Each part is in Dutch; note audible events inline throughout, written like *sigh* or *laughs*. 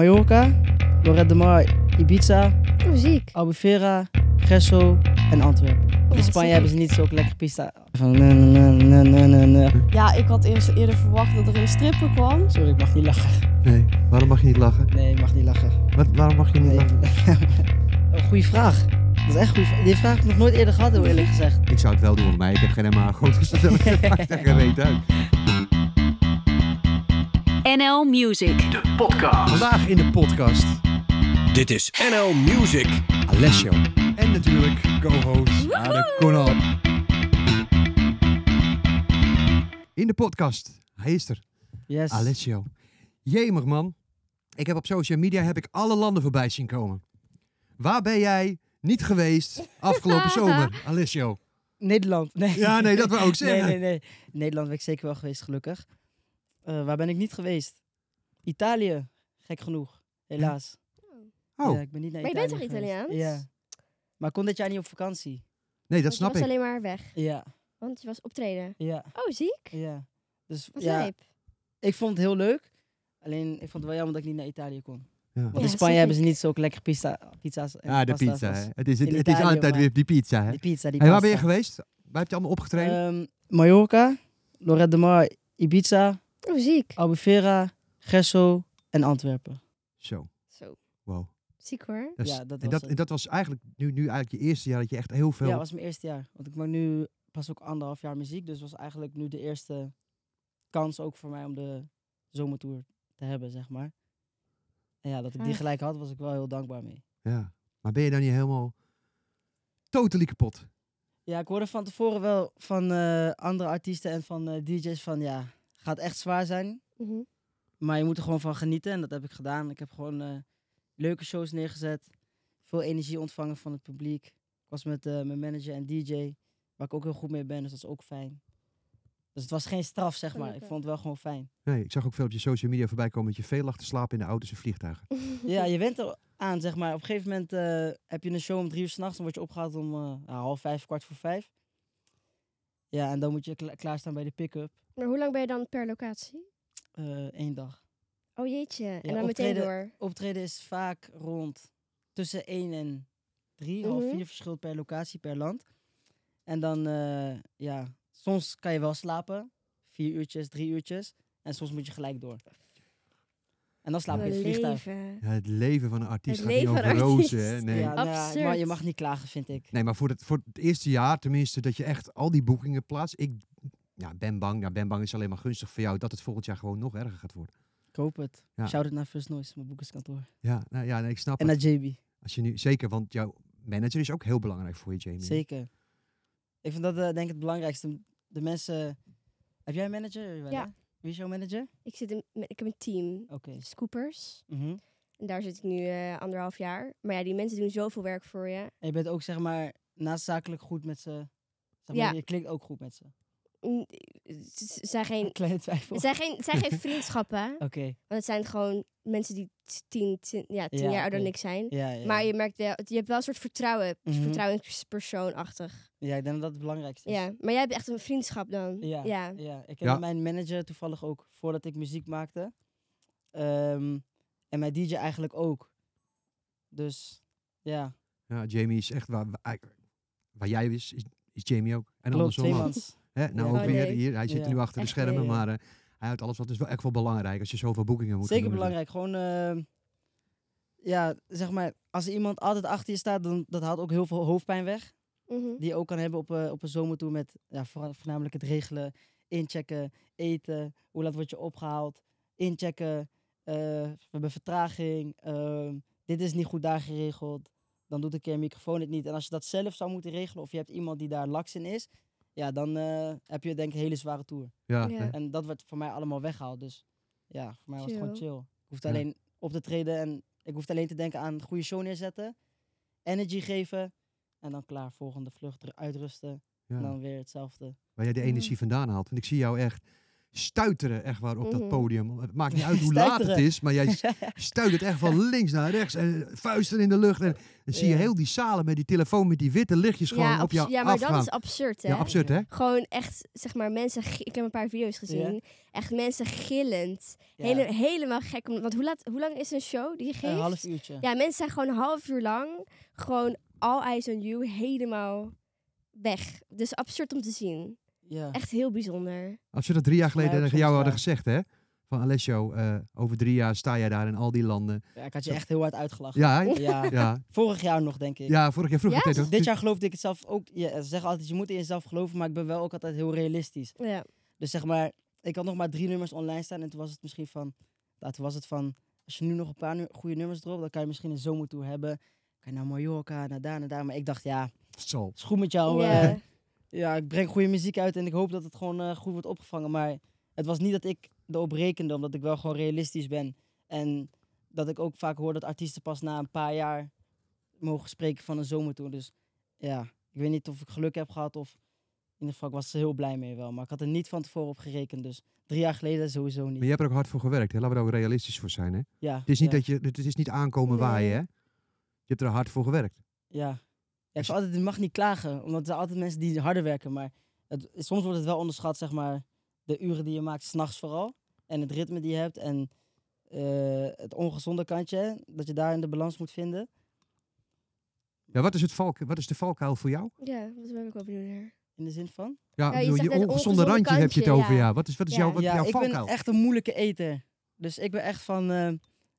Mallorca, Lloret de Mar, Ibiza, Oh, ziek. Albufeira, Gesso en Antwerpen. Oh, In wat Spanje ziek. hebben ze niet zulke lekkere pista. Van na, na, na, na, na, na. Ja, ik had eerst eerder verwacht dat er een stripper kwam. Sorry, ik mag niet lachen. Nee, waarom mag je niet lachen? Nee, ik mag niet lachen. Wat, waarom mag je niet Nee. lachen? *laughs* Een goede vraag. Dat is echt een goede vraag. Die vraag heb ik nog nooit eerder gehad, heel eerlijk gezegd. Ik zou het wel doen, maar ik heb geen imago, dus dat maakt er geen reet uit. NL Music. Vandaag in de podcast Dit is NL Music. Alessio en natuurlijk co-host Ade Konal. In de podcast, hij is er, Yes. Alessio. Jemig man, ik heb op social media heb ik alle landen voorbij zien komen. Waar ben jij niet geweest *laughs* afgelopen zomer, Alessio? Nederland. Nee. Ja, nee, *laughs* dat wou ik Nee, zeggen. nee, nee. Nederland ben ik zeker wel geweest, gelukkig. Eh, waar ben ik niet geweest? Italië, gek genoeg. Helaas. Oh, Ja, ik ben niet naar Maar je Italië bent toch geweest. Italiaans? Ja. Maar ik kon dit jaar niet op vakantie. nee, dat Want snap je was ik. alleen maar weg, Ja, want je was optreden. ja, Oh, ziek. ja. Dus Wat ja, lijp. ik vond het heel leuk. Alleen, ik vond het wel jammer dat ik niet naar Italië kon. Ja. Want Ja, in Spanje snap hebben ze ik. niet zo lekker pizza, pizza's en Ja, Ah, de pasta's pizza. als- hè. Het is, het, in het is Italië, altijd maar- weer die pizza. Hè? Die pizza, die Hey, waar ben je pasta. geweest? Waar heb je allemaal opgetreden? Ehm, Mallorca, Lloret de Mar, Ibiza, Oh, ziek. Albufeira, Gesso en Antwerpen. Zo, Zo, wow. ziek hoor. Dat is- Ja, dat en, was dat, het. en dat was eigenlijk nu, nu eigenlijk je eerste jaar dat je echt heel veel... Ja, dat was mijn eerste jaar. Want ik maak nu pas ook anderhalf jaar muziek. Dus was eigenlijk nu de eerste kans ook voor mij om de zomertour te hebben, zeg maar. En ja, dat ik die Gaaf. gelijk had, was ik wel heel dankbaar mee. Ja. Maar ben je dan niet helemaal totally kapot? Ja, ik hoorde van tevoren wel van eh, andere artiesten en van eh, DJ's van ja, gaat echt zwaar zijn. Mhm. *laughs* Maar je moet er gewoon van genieten en dat heb ik gedaan. Ik heb gewoon eh, leuke shows neergezet. Veel energie ontvangen van het publiek. Ik was met eh, mijn manager en DJ, waar ik ook heel goed mee ben, dus dat is ook fijn. Dus het was geen straf, zeg maar. Ik Gelukkig. vond het wel gewoon fijn. Nee, ik zag ook veel op je social media voorbij komen dat je veel lag te slapen in de auto's en vliegtuigen. Ja, je went er aan, zeg maar. Op een gegeven moment eh, heb je een show om drie uur s'nachts. Dan word je opgehaald om eh, nou, half vijf, kwart voor vijf. Ja, en dan moet je kla- klaarstaan bij de pick-up. Maar hoe lang ben je dan per locatie? eh één dag. Oh jeetje, en dan optreden- meteen door. optreden is vaak rond tussen 1 en 3, half Mhm. 4 verschilt per locatie, per land. En dan, eh, ja, soms kan je wel slapen. Vier uurtjes, drie uurtjes. En soms moet je gelijk door. En dan slaap je in het Mijn vliegtuig. leven. Ja, het leven van een artiest Het gaat niet leven van over een rozen. Hè? artiest. Nee. Ja, nou ja, Absurd. maar je mag niet klagen, vind ik. nee, maar voor het, voor het eerste jaar tenminste dat je echt al die boekingen plaatst. Ik ja, ben bang, nou ben bang is alleen maar gunstig voor jou dat het volgend jaar gewoon nog erger gaat worden. Ik hoop het. Ja. Shout-out naar First Noise, mijn boekenskantoor. Ja, nou, ja nee, ik snap En het. naar JB, Als je nu, zeker, want jouw manager is ook heel belangrijk voor je, Jamie. zeker. Ik vind dat eh, denk ik het belangrijkste. De mensen... Heb jij een manager? Wel, Ja. hè? Wie is jouw manager? Ik, zit in, met- ik heb een team, Oké. scoopers. Mhm. En daar zit ik nu eh, anderhalf jaar. Maar ja, die mensen doen zoveel werk voor je. En je bent ook, zeg maar, naast zakelijk goed met ze. Zeg maar, Ja. Je klinkt ook goed met ze. Mm, Het z- zijn *laughs* geen, Kleine twijfel. het Oké. zijn geen, het zijn geen vriendschappen. Want het zijn gewoon mensen die t- tien, tien- ja, tien Ja, jaar ouder dan oké. ik zijn. Ja, ja. Maar je merkt wel, je hebt wel een soort vertrouwen, Mhm. vertrouwenspersoonachtig. ja, ik denk dat dat het belangrijkste is. Ja, maar jij hebt echt een vriendschap dan. Ja, ja. Ik ken Ja. mijn manager toevallig ook voordat ik muziek maakte. Ehm, en mijn DJ eigenlijk ook. Dus ja, Ja, Jamie is echt waar, waar, waar jij is, is, is Jamie ook. En klopt. andersom. ook. Tweemans. Hè? Nou, Ja. ook Oh, weer leuk. hier. Hij zit Ja. nu achter de Echt schermen, leuk. maar eh, hij houdt alles wat is wel echt wel belangrijk als je zoveel boekingen moet Zeker doen. belangrijk. Gewoon, ehm, ja, zeg maar, als er iemand altijd achter je staat, dan dat haalt ook heel veel hoofdpijn weg. Mhm. die je ook kan hebben op, eh, op een zomertour met ja, vooral- voornamelijk het regelen, inchecken, eten, hoe laat word je opgehaald, inchecken, eh, we hebben vertraging, ehm, dit is niet goed daar geregeld, dan doet een keer een microfoon het niet. En als je dat zelf zou moeten regelen of je hebt iemand die daar laks in is, ja, dan eh, heb je denk ik een hele zware tour. Ja, Ja. hè? En dat werd voor mij allemaal weggehaald, dus ja, voor mij was het gewoon Chill. chill. Ik hoefde Ja. alleen op te treden en ik hoefde alleen te denken aan een goede show neerzetten, energy geven en dan klaar, volgende vlucht ru- uitrusten. ja. En dan weer hetzelfde. Waar jij de Ja. energie vandaan haalt. Want ik zie jou echt stuiteren echt waar op dat Mhm. podium. Het maakt niet uit hoe laat het Stuiteren. *laughs* is, maar *laughs* jij stuitert echt van links naar rechts en eh, vuisten in de lucht. En dan zie je Ja. heel die zalen met die telefoon, met die witte lichtjes gewoon op abs- jou ja maar afgaan. dat is absurd, hè? ja, absurd hè? Gewoon echt, zeg maar, mensen... gi- Ik heb een paar video's gezien. Echt mensen gillend. Hele, helemaal gek. om- Want hoe, laat, hoe lang is een show die je geeft? Een half uurtje. Ja, mensen zijn gewoon een half uur lang gewoon all eyes on you helemaal weg. Dus absurd om te zien. Ja. Echt heel bijzonder. Als we dat drie jaar Volgens mij ook geleden tegen soms jou wel. hadden gezegd hè? Van Alessio, eh, over drie jaar sta jij daar in al die landen. Ja, ik had je echt heel hard uitgelachen. Ja, *laughs* hè? Ja. ja, Vorig jaar nog, denk ik. ja vorig jaar vroeg Ja? ik het ook. dus Dit jaar geloofde ik het zelf ook. Ja, ze zeggen altijd, je moet in jezelf geloven, maar ik ben wel ook altijd heel realistisch. Ja. Dus zeg maar, ik had nog maar drie nummers online staan en toen was het misschien van, nou, toen was het van, als je nu nog een paar nu- goede nummers dropt, dan kan je misschien een zomertour hebben. Kan je naar Mallorca, naar daar, naar daar. Maar ik dacht, ja, Zo. is goed met jou. Ja. eh. ja, ik breng goede muziek uit en ik hoop dat het gewoon eh, goed wordt opgevangen. Maar het was niet dat ik erop rekende, omdat ik wel gewoon realistisch ben. En dat ik ook vaak hoor dat artiesten pas na een paar jaar mogen spreken van een zomertour. Dus ja, ik weet niet of ik geluk heb gehad of in ieder geval ik was er heel blij mee wel. Maar ik had er niet van tevoren op gerekend, dus drie jaar geleden sowieso niet. Maar je hebt er ook hard voor gewerkt. Hè? Laten we er ook realistisch voor zijn. Hè? Het, ja, is niet ja, dat je, het is niet aankomen Nee. waaien. Hè? Je hebt er hard voor gewerkt. Ja. ja ik zou altijd, je mag niet klagen, omdat er zijn altijd mensen die harder werken. Maar het, soms wordt het wel onderschat, zeg maar, de uren die je maakt, s'nachts vooral. En het ritme die je hebt en eh, het ongezonde kantje, hè, dat je daarin de balans moet vinden. Ja, wat, is het valk, wat is de valkuil voor jou? Ja, dat ben ik wel benieuwd naar. In de zin van? Ja, je ik bedoel, zegt je net een ongezonde, ongezonde randje heb je het kantje, over. ja. Ja. Wat is, wat is Ja. jouw, wat is ja, jouw ik ben valkuil? echt een moeilijke eter. Dus ik ben echt van, eh,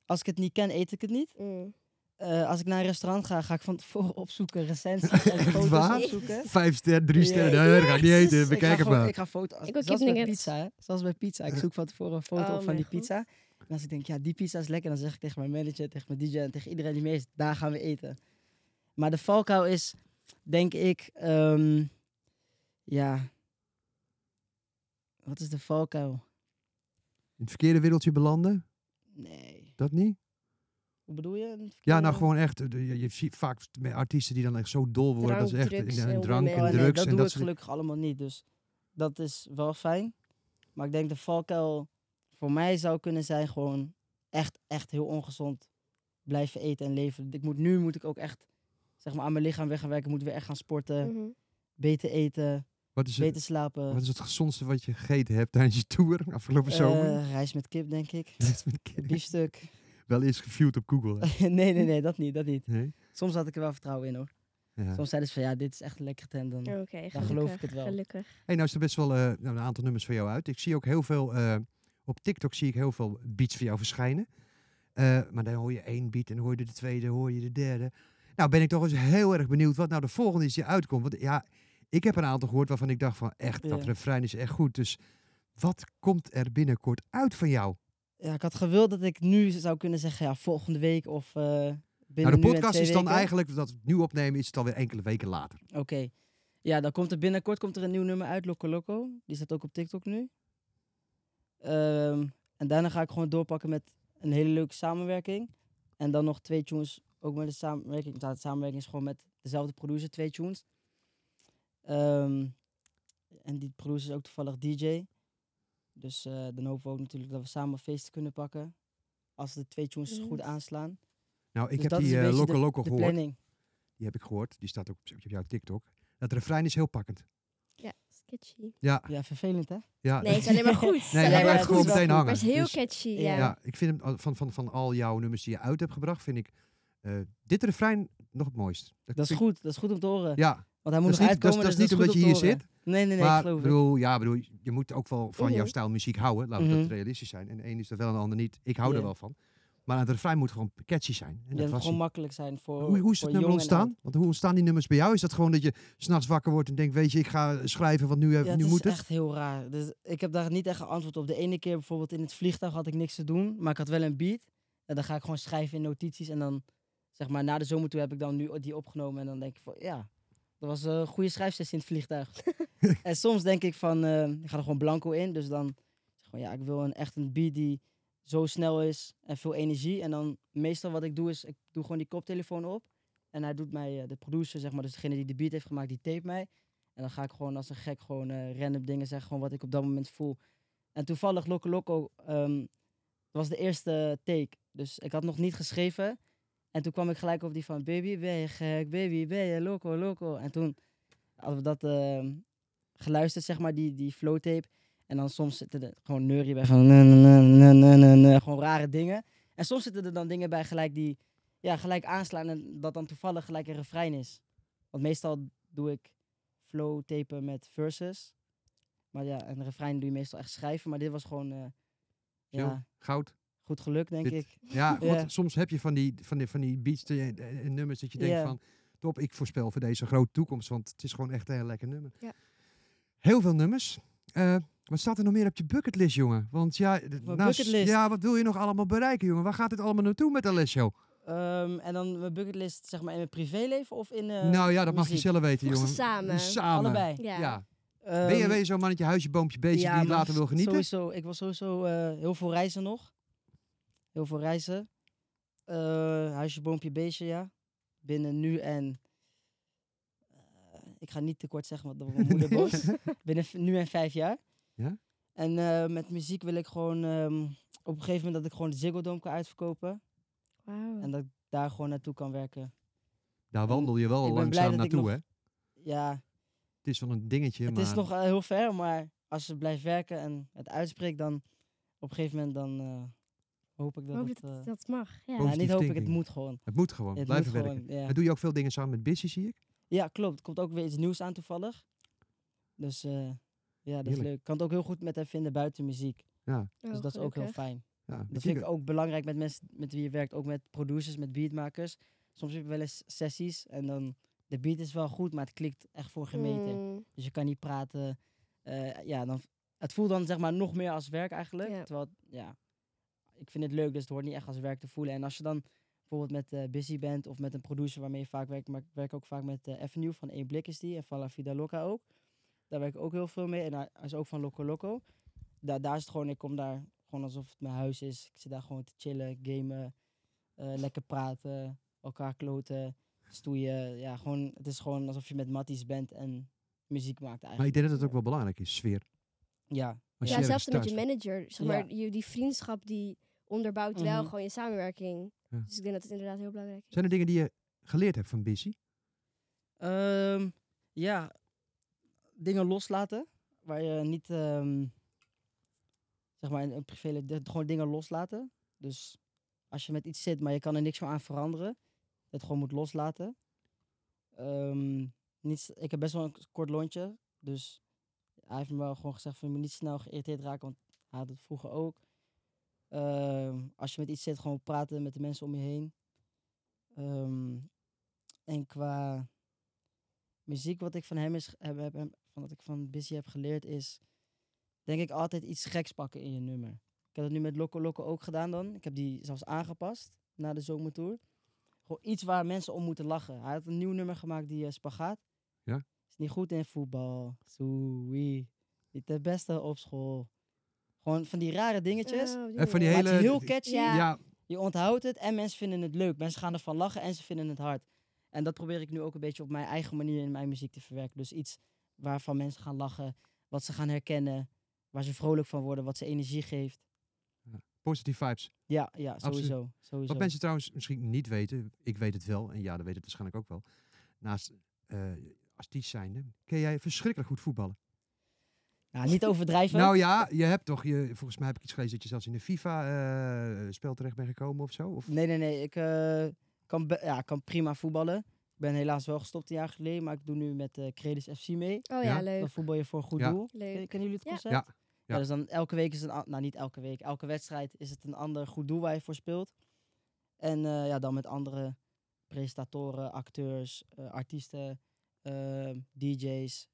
als ik het niet ken, eet ik het niet. Mm. Eh, als ik naar een restaurant ga, ga ik van tevoren opzoeken, recensies *laughs* en foto's waar? opzoeken. Vijf sterren, drie Ja. sterren. Nee, dat ga ik niet eten. ik ga Bekijk het gewoon- maar. Ik ga foto's. Ik wil zelfs bij kipnuggets. pizza, hè. Zelfs bij pizza. Ik zoek van tevoren een foto Oh op van mijn die God. pizza. En als ik denk, ja, die pizza is lekker, dan zeg ik tegen mijn manager, tegen mijn DJ en tegen iedereen die mee is, daar gaan we eten. Maar de valkuil is, denk ik, ehm, ja. Wat is de valkuil? In het verkeerde wereldje belanden? Nee. Dat niet? Hoe bedoel je? Een Ja, verkeerde- nou gewoon echt. eh, Je, je ziet vaak met artiesten die dan echt zo dol worden. dat ze echt Drank, drugs, in- in heel drank Oh, veel en nee, mensen. drugs. dat en doe dat ik soort- gelukkig allemaal niet. Dus dat is wel fijn. Maar ik denk de valkuil voor mij zou kunnen zijn gewoon echt, echt heel ongezond blijven eten en leven. Ik moet, nu moet ik ook echt zeg maar, aan mijn lichaam weg gaan werken. Ik moet weer echt gaan sporten. Mhm. Beter eten, wat, is het, beter slapen. wat is het gezondste wat je gegeten hebt tijdens je tour *laughs* afgelopen Eh, zomer? rijst met kip, denk *laughs* ik. Dat is met kinderen. Biefstuk. *laughs* Wel eens geviewd op Google. hè? nee, nee, nee, dat niet, dat niet. Nee? Soms had ik er wel vertrouwen in hoor. Ja. Soms zeiden ze van ja, dit is echt lekker en dan... Hm. Oké, Dan geloof ik gelukkig, het wel. Gelukkig. Hey, nou is er best wel eh, nou, een aantal nummers van jou uit. Ik zie ook heel veel, eh, op TikTok zie ik heel veel beats van jou verschijnen. Eh, maar dan hoor je één beat en dan hoor je de tweede, hoor je de derde. Nou ben ik toch eens heel erg benieuwd wat nou de volgende is die uitkomt. Want ja, ik heb een aantal gehoord waarvan ik dacht van echt, dat Ja. refrein is echt goed. Dus wat komt er binnenkort uit van jou? Ja, ik had gewild dat ik nu zou kunnen zeggen, ja, volgende week of eh binnen nou, nu de en podcast twee is dan weken. eigenlijk, dat we het nu opnemen, is het alweer enkele weken later. Oké. Ja, dan komt er binnenkort komt er een nieuw nummer uit, Loco Loco. Die staat ook op TikTok nu. Ehm, en daarna ga ik gewoon doorpakken met een hele leuke samenwerking. En dan nog twee tunes, ook met de samenwerking. Nou, de samenwerking is gewoon met dezelfde producer, twee tunes. Ehm, en die producer is ook toevallig DJ. Dus eh, dan hopen we ook natuurlijk dat we samen feesten kunnen pakken. Als de twee tunes goed Yes. aanslaan. Nou, ik Dus heb dat is die een eh, beetje Loco Loco De gehoord. planning. Die heb ik gehoord. Die staat ook op, op jouw TikTok. Dat refrein is heel pakkend. Ja, is catchy. Ja, Ja, vervelend hè? ja. Nee, het is alleen maar goed. Het is Ah. *laughs* Nee, Ja, hij alleen maar het blijft maar gewoon goed. wel meteen goed. hangen. Maar het is heel Dus, catchy, ja. ja. ja, ik vind hem al- van, van, van al jouw nummers die je uit hebt gebracht, vind ik eh, dit refrein nog het mooist. Dat is vind- goed, dat is goed om te horen. Ja, Want hij dat moet is nog niet, dat is, uitkomen, dat is dus niet omdat goed je om hier te horen. zit. Nee, nee, nee, ik maar geloof het. bedoel, ja, bedoel, je moet ook wel van jouw Mhm. stijl muziek houden. Laten we dat Mhm. realistisch zijn. En de een is er wel en de ander niet. Ik hou er Ja. wel van. Maar het refrein moet gewoon catchy zijn. En Ja, dat het moet was gewoon hij. makkelijk zijn voor hoe, hoe is voor dat nummer jong en ontstaan? oud. Want hoe ontstaan die nummers bij jou? Is dat gewoon dat je s'nachts wakker wordt en denkt, weet je, ik ga schrijven, want nu, heb- Ja, het nu is moet het? echt heel raar. Dus ik heb daar niet echt een antwoord op. De ene keer bijvoorbeeld in het vliegtuig had ik niks te doen, maar ik had wel een beat. En dan ga ik gewoon schrijven in notities. En dan, zeg maar, na de zomer toe heb ik dan nu die opgenomen. En dan denk ik van, ja, dat was een goede schrijfsessie in het *laughs* vliegtuig. en soms denk ik van, eh, ik ga er gewoon blanco in. Dus dan, zeg gewoon, ja, ik wil een, echt een beat die zo snel is en veel energie. En dan meestal wat ik doe is, ik doe gewoon die koptelefoon op. En hij doet mij, eh, de producer, zeg maar, dus degene die de beat heeft gemaakt, die tape mij. En dan ga ik gewoon als een gek gewoon eh random dingen zeggen, gewoon wat ik op dat moment voel. En toevallig Loco Loco ehm, was de eerste take. Dus ik had nog niet geschreven. En toen kwam ik gelijk op die van Baby ben je gek, baby ben je loco loco. En toen hadden we dat ehm, geluisterd, zeg maar, die, die flow tape. En dan soms zitten er gewoon neurieën bij van na, na, na, na, na, na, na, gewoon rare dingen. En soms zitten er dan dingen bij gelijk die ja, gelijk aanslaan en dat dan toevallig gelijk een refrein is. Want meestal doe ik flow tapen met verses. Maar ja, een refrein doe je meestal echt schrijven. Maar dit was gewoon eh, Chill. ja, Goud. goed geluk, denk Dit- ik. Ja, goed, Ja. soms heb je van die, van die, van die beats die- en- en nummers dat je denkt Ja. van... Top, ik voorspel voor deze grote toekomst, want het is gewoon echt een heel lekker nummer. Ja. Heel veel nummers. Eh, wat staat er nog meer op je bucketlist, jongen? Want ja, d- Mijn naast- bucketlist? ja, wat wil je nog allemaal bereiken, jongen? Waar gaat dit allemaal naartoe met Alessio? Ehm, en dan mijn bucketlist, zeg maar, in mijn privéleven of in. eh, nou ja, dat mag je muziek? zelf weten, Volgens jongen. ze samen. Samen. Allebei. Ja. Ja. Ehm, ben, je, ben je zo'n mannetje huisje, boompje, beestje die maar later wil genieten? Sowieso, ik wil sowieso eh, heel veel reizen nog. Heel veel reizen. Eh, huisje, boompje, beestje, ja. Binnen nu en... eh, ik ga niet te kort zeggen, want dan wordt mijn *laughs* moeder boos. Binnen v- nu en vijf jaar. Ja? En eh, met muziek wil ik gewoon... ehm, op een gegeven moment dat ik gewoon de Ziggo Dome kan uitverkopen. Wauw. En dat ik daar gewoon naartoe kan werken. Daar wandel je wel Ik ben blij langzaam dat ik naartoe, nog- hè? Ja, Het is wel een dingetje, het maar... is nog eh, heel ver, maar als je blijft werken en het uitspreekt, dan op een gegeven moment dan eh, hoop ik dat Hoop het... dat eh, dat mag. Ja, Ja. Positief niet hoop ik, het thinking. moet gewoon. Het moet gewoon. Het Blijven moet werken. gewoon, ja. En doe je ook veel dingen samen met Busy, zie ik? ja, klopt. Er komt ook weer iets nieuws aan toevallig. Dus eh, ja, dat is Heerlijk. leuk. Ik kan het ook heel goed met hem vinden buiten muziek. Oh, Dus dat is ook heel fijn. Ja, Dat zie vind ik ook belangrijk met mensen met wie je werkt. Ook met producers, met beatmakers. Soms heb je wel eens sessies en dan... De beat is wel goed, maar het klikt echt voor gemeten. Mm, Dus je kan niet praten. Eh, ja, dan, het voelt dan zeg maar nog meer als werk eigenlijk. Ja. Terwijl, het- ja, ik vind het leuk, dus het hoort niet echt als werk te voelen. En als je dan bijvoorbeeld met eh, Busy bent of met een producer waarmee je vaak werkt, maar ik werk ook vaak met eh Avenue van Eén Blik is die en van La Vida Loca ook. Daar werk ik ook heel veel mee en hij hij is ook van Loco Loco. Daar, daar is het gewoon, ik kom daar gewoon alsof het mijn huis is. Ik zit daar gewoon te chillen, gamen, eh, lekker praten, elkaar kloten, stoeien. Ja, gewoon, het is gewoon alsof je met matties bent en muziek maakt eigenlijk. Maar ik denk dat het ook wel belangrijk is, sfeer. Ja, Als Ja, je zelfs ergens met je thuis- manager. Zeg Ja. maar, je, die vriendschap die onderbouwt wel Mhm. gewoon je samenwerking. Ja. Dus ik denk dat het inderdaad heel belangrijk is. Zijn er dingen die je geleerd hebt van Busy? Ehm, ja, dingen loslaten. Waar je niet, ehm, zeg maar, in een privé de- gewoon dingen loslaten. Dus als je met iets zit, maar je kan er niks meer aan veranderen, dat gewoon moet loslaten. Ehm, niet, s- ik heb best wel een k- kort lontje, dus hij heeft me wel gewoon gezegd van je moet niet snel geïrriteerd raken, want hij had het vroeger ook. Ehm, als je met iets zit, gewoon praten met de mensen om je heen. Ehm, en qua muziek wat ik van hem is, heb, heb- heb- van wat ik van Busy heb geleerd is, denk ik altijd iets geks pakken in je nummer. Ik heb dat nu met Loco Loco ook gedaan dan. Ik heb die zelfs aangepast na de zomertour. Gewoon iets waar mensen om moeten lachen. Hij had een nieuw nummer gemaakt die eh, spagaat. Ja? Is niet goed in voetbal. Zoei. Niet de beste op school. Gewoon van die rare dingetjes. Oh, op die Eh, van die manier. maar het is hele- heel catchy. Ja. ja, Je onthoudt het en mensen vinden het leuk. Mensen gaan ervan lachen en ze vinden het hard. En dat probeer ik nu ook een beetje op mijn eigen manier in mijn muziek te verwerken. Dus iets waarvan mensen gaan lachen, wat ze gaan herkennen, waar ze vrolijk van worden, wat ze energie geeft. positive vibes. Ja, ja sowieso. sowieso. Wat mensen trouwens misschien niet weten, ik weet het wel, en ja, dat weet het waarschijnlijk ook wel. Naast eh artiest zijnde, ken jij verschrikkelijk goed voetballen. Nou, niet overdrijven. Nou ja, je hebt toch, je, volgens mij heb ik iets gelezen dat je zelfs in de FIFA eh spel terecht bent gekomen of zo? Of, Nee, nee, nee. Ik eh, kan, be- ja, kan prima voetballen. Ik ben helaas wel gestopt een jaar geleden, maar ik doe nu met eh Credis FC mee. Oh ja, Ja. Dan leuk. voetbal je voor een goed Ja. doel. Leuk. Ken- Kennen jullie het Ja. concept? Ja. Ja. dus dan elke week is het een... an- Nou, niet elke week. Elke wedstrijd is het een ander goed doel waar je voor speelt. En eh, ja, dan met andere presentatoren, acteurs, eh, artiesten, eh, dj's,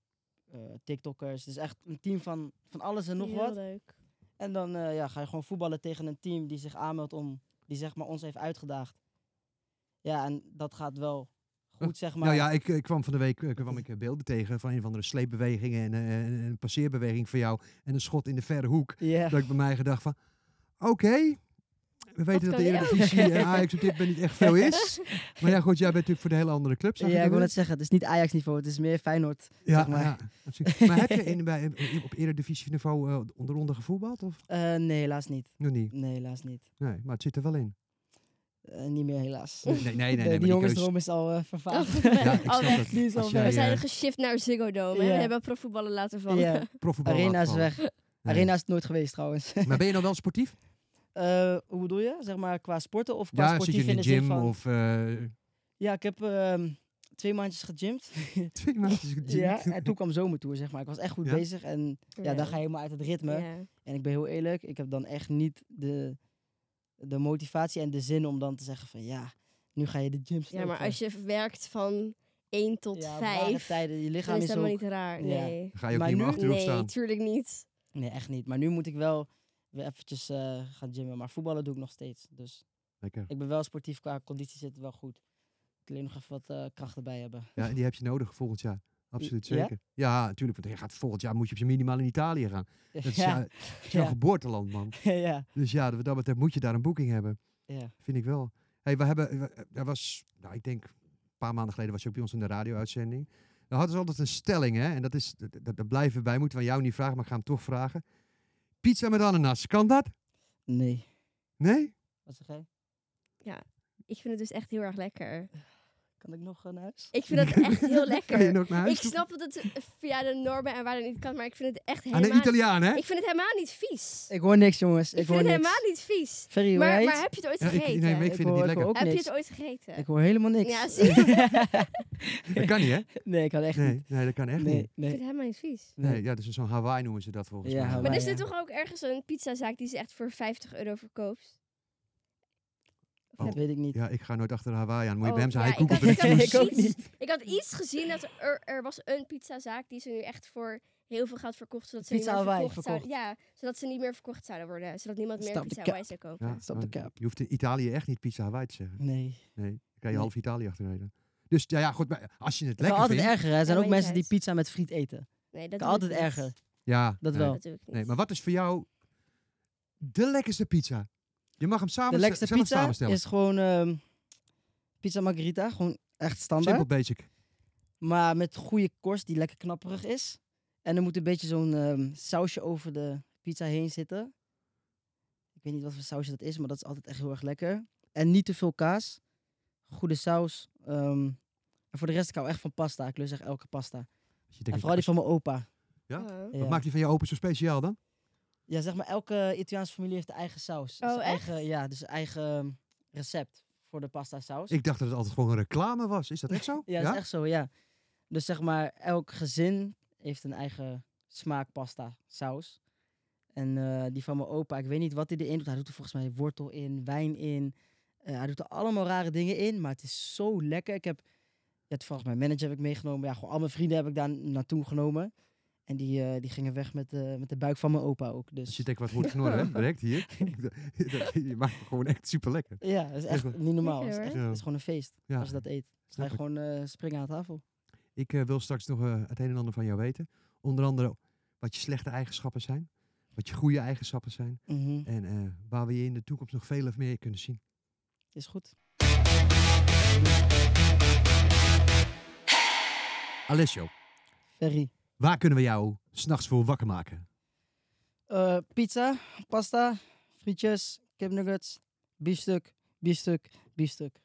eh, tiktokkers. Het is echt een team van, van alles en nog Heel wat. *laughs* leuk. En dan eh, ja, ga je gewoon voetballen tegen een team die zich aanmeldt om... Die zeg maar ons heeft uitgedaagd. Ja, en dat gaat wel goed, zeg maar. Nou ja, ik, eh, kwam van de week eh, kwam ik eh, beelden tegen van een of andere sleepbewegingen en eh, en een passeerbeweging van jou en een schot in de verre hoek. Ja. Dat ik bij mij gedacht van, oké, We weten dat de kan, ja. Eredivisie en Ajax op dit moment niet echt veel *laughs* is. Maar ja, goed, jij bent natuurlijk voor de hele andere club. zag Ja, ik dat wil wel? net zeggen, het is niet Ajax-niveau, het is meer Feyenoord. Ja, zeg maar. ja, absoluut. maar heb je in, bij, op Eredivisie niveau eh onderonder gevoetbald? Of? Eh, nee, helaas niet. Nog niet. Nee, helaas niet. Nee, maar het zit er wel in. Eh, niet meer, helaas. Nee, nee, *laughs* nee. de, nee, maar die die keus- jongensdroom is al eh, vervaagd. Ja, ik Al weg. snap dat. Die is al Als weg. Oh. We jij, zijn eh, geshift naar Ziggo Dome. hè. Ja. We hebben profvoetballen laten vallen. Ja. profvoetbal Arena is afgevallen. weg. Nee. Arena is het nooit geweest trouwens. *laughs* Maar ben je nou wel sportief? Eh, hoe bedoel je? Zeg maar qua sporten of qua Ja, zit je sportief in de zin gym van- of... eh, *laughs* Ja, ik heb ehm, twee maandjes *laughs* gegymd. Twee maandjes in de gym. ja, en toen kwam zomertour, zeg maar. Ik was echt goed Ja? bezig en ja, dan ga je helemaal uit het ritme. Ja. En ik ben heel eerlijk, ik heb dan echt niet de, de motivatie en de zin om dan te zeggen van ja, nu ga je de gym Ja, maar als je werkt van 1 tot ja, ware 5, dan tijden, je is lichaam dat is ook... helemaal niet raar. Ja. Nee. Dan ga je ook Maar niet meer nu- achterop Nee, staan. tuurlijk niet. Nee, echt niet. Maar nu moet ik wel weer eventjes eh, gaan gymmen. Maar voetballen doe ik nog steeds. Dus Lekker. ik ben wel sportief, qua conditie zit het wel goed. Ik wil alleen nog even wat eh, kracht erbij hebben. Ja, en die heb je nodig volgend jaar. Absoluut Ja? zeker. Ja, natuurlijk. Want je gaat volgend jaar moet je op je minimaal in *laughs* Italië gaan. Dat is, jou- ja. dat is jouw ja. geboorteland, man. *laughs* ja, Dus ja, wat dat betreft moet je daar een boeking hebben. ja. Vind ik wel. hey, we hebben... we- Er was... Nou, ik denk... Een paar maanden geleden was je ook bij ons in de radio-uitzending. Dan hadden ze altijd een stelling, hè. En dat is... Dat, dat, dat blijven we bij. Moeten we aan jou niet vragen, maar ik ga hem toch vragen. Pizza met ananas. Kan dat? Nee. Nee? Wat zeg jij? Ik vind het dus echt heel erg lekker. Kan ik nog eh, naar huis? Ik *laughs* vind dat echt heel Kan je Eh, lekker. nog naar Ik huis toe? snap dat het via de normen en waarden niet kan, maar ik vind het echt Aan de helemaal... Ah, Italiaan, hè? Ik vind het helemaal niet vies. Ik hoor niks, jongens. Ik, Ik hoor vind het niks. helemaal niet vies. Very Maar, right. maar heb je het ooit Ja, ik- gegeten? nee, maar ik- vind het hoor, hoor niet lekker. ook Heb je niks. het ooit gegeten? Ik hoor helemaal niks. *laughs* Ja, zie je? Dat kan niet, hè? nee, ik kan *laughs* echt Nee, niet. nee dat kan echt niet. Nee, Ik vind nee. het helemaal niet vies. Nee, ja, dus zo'n Hawaii noemen ze dat volgens Ja, mij. Hawaii. Maar Maar er zit ja. toch ook ergens een pizzazaak die ze echt voor 50 euro verkoopt? Oh. Dat weet ik niet. Ja, ik ga nooit achter de Hawaii aan. Moet je Oh, bij hem zijn ja, haiku ik had- gebruiken? had Ik ook iets- niet. Ik had iets gezien dat er, er was een pizzazaak die ze nu echt voor heel veel geld verkocht. Zodat ze Pizza niet meer Hawaii verkocht, zouden, ja, zodat ze niet meer verkocht zouden worden. Zodat niemand meer Stap de pizza kap. Hawaii zou kopen. Ja, Stop de maar cap. Je hoeft in Italië echt niet pizza Hawaii te zeggen. Nee. Nee, dan kan je Nee. half Italië achterreden. Dus ja, ja, goed, maar als je het Het kan lekker altijd vindt... erger. hè. Er zijn Ja, ook maar mensen die juist. pizza met friet eten. Nee, dat Kan doe ik altijd niet. erger. Ja, Dat nee. wel. Dat doe ik niet. Nee, maar wat is voor jou de lekkerste pizza? Je mag hem samen De lekkerste zelf pizza samenstellen. is gewoon ehm, pizza margherita. Gewoon echt standaard. Simpel basic. Maar met goede korst die lekker knapperig is. En er moet een beetje zo'n ehm, sausje over de pizza heen zitten. Ik weet niet wat voor sausje dat is, maar dat is altijd echt heel erg lekker. En niet te veel kaas. Goede saus. ehm, en voor de rest, ik hou echt van pasta. Ik lust echt elke pasta. Dus je denkt, En vooral die van mijn opa. Ja? Oh. Ja. Wat maakt die van jou open zo speciaal dan? Ja, zeg maar, elke Italiaanse familie heeft de eigen saus. Oh, Zijn Eigen, ja, dus zijn eigen ehm, recept voor de pasta saus. Ik dacht dat het altijd gewoon een reclame was. Is dat echt zo? *laughs* Ja, dat is echt zo, ja. Dus zeg maar, elk gezin heeft een eigen smaak pasta saus. En eh, die van mijn opa, ik weet niet wat hij erin doet. Hij doet er volgens mij wortel in, wijn in. Eh, hij doet er allemaal rare dingen in, maar het is zo lekker. Ik heb, ja, volgens mijn manager heb ik meegenomen. Ja, gewoon al mijn vrienden heb ik daar naartoe genomen. En die, eh, die gingen weg met, eh, met de buik van mijn opa ook. Dus Dus je denkt, wat moet knorren, *laughs* hè? Direct hier. *laughs* je maakt het gewoon echt super lekker. ja, dat is echt Lekker. niet normaal. Het is, Lekker, echt, hoor. het is gewoon een feest Ja, als je dat eet. Dan ga snap je ik. gewoon eh, springen aan tafel. Ik eh, wil straks nog eh, het een en ander van jou weten. Onder andere wat je slechte eigenschappen zijn. Wat je goede eigenschappen zijn. Mhm. En eh, waar we je in de toekomst nog veel of meer kunnen zien. Is goed. Alessio, Ferry. waar kunnen we jou s'nachts voor wakker maken? Eh, pizza, pasta, frietjes, kipnuggets, biefstuk, biefstuk, biefstuk,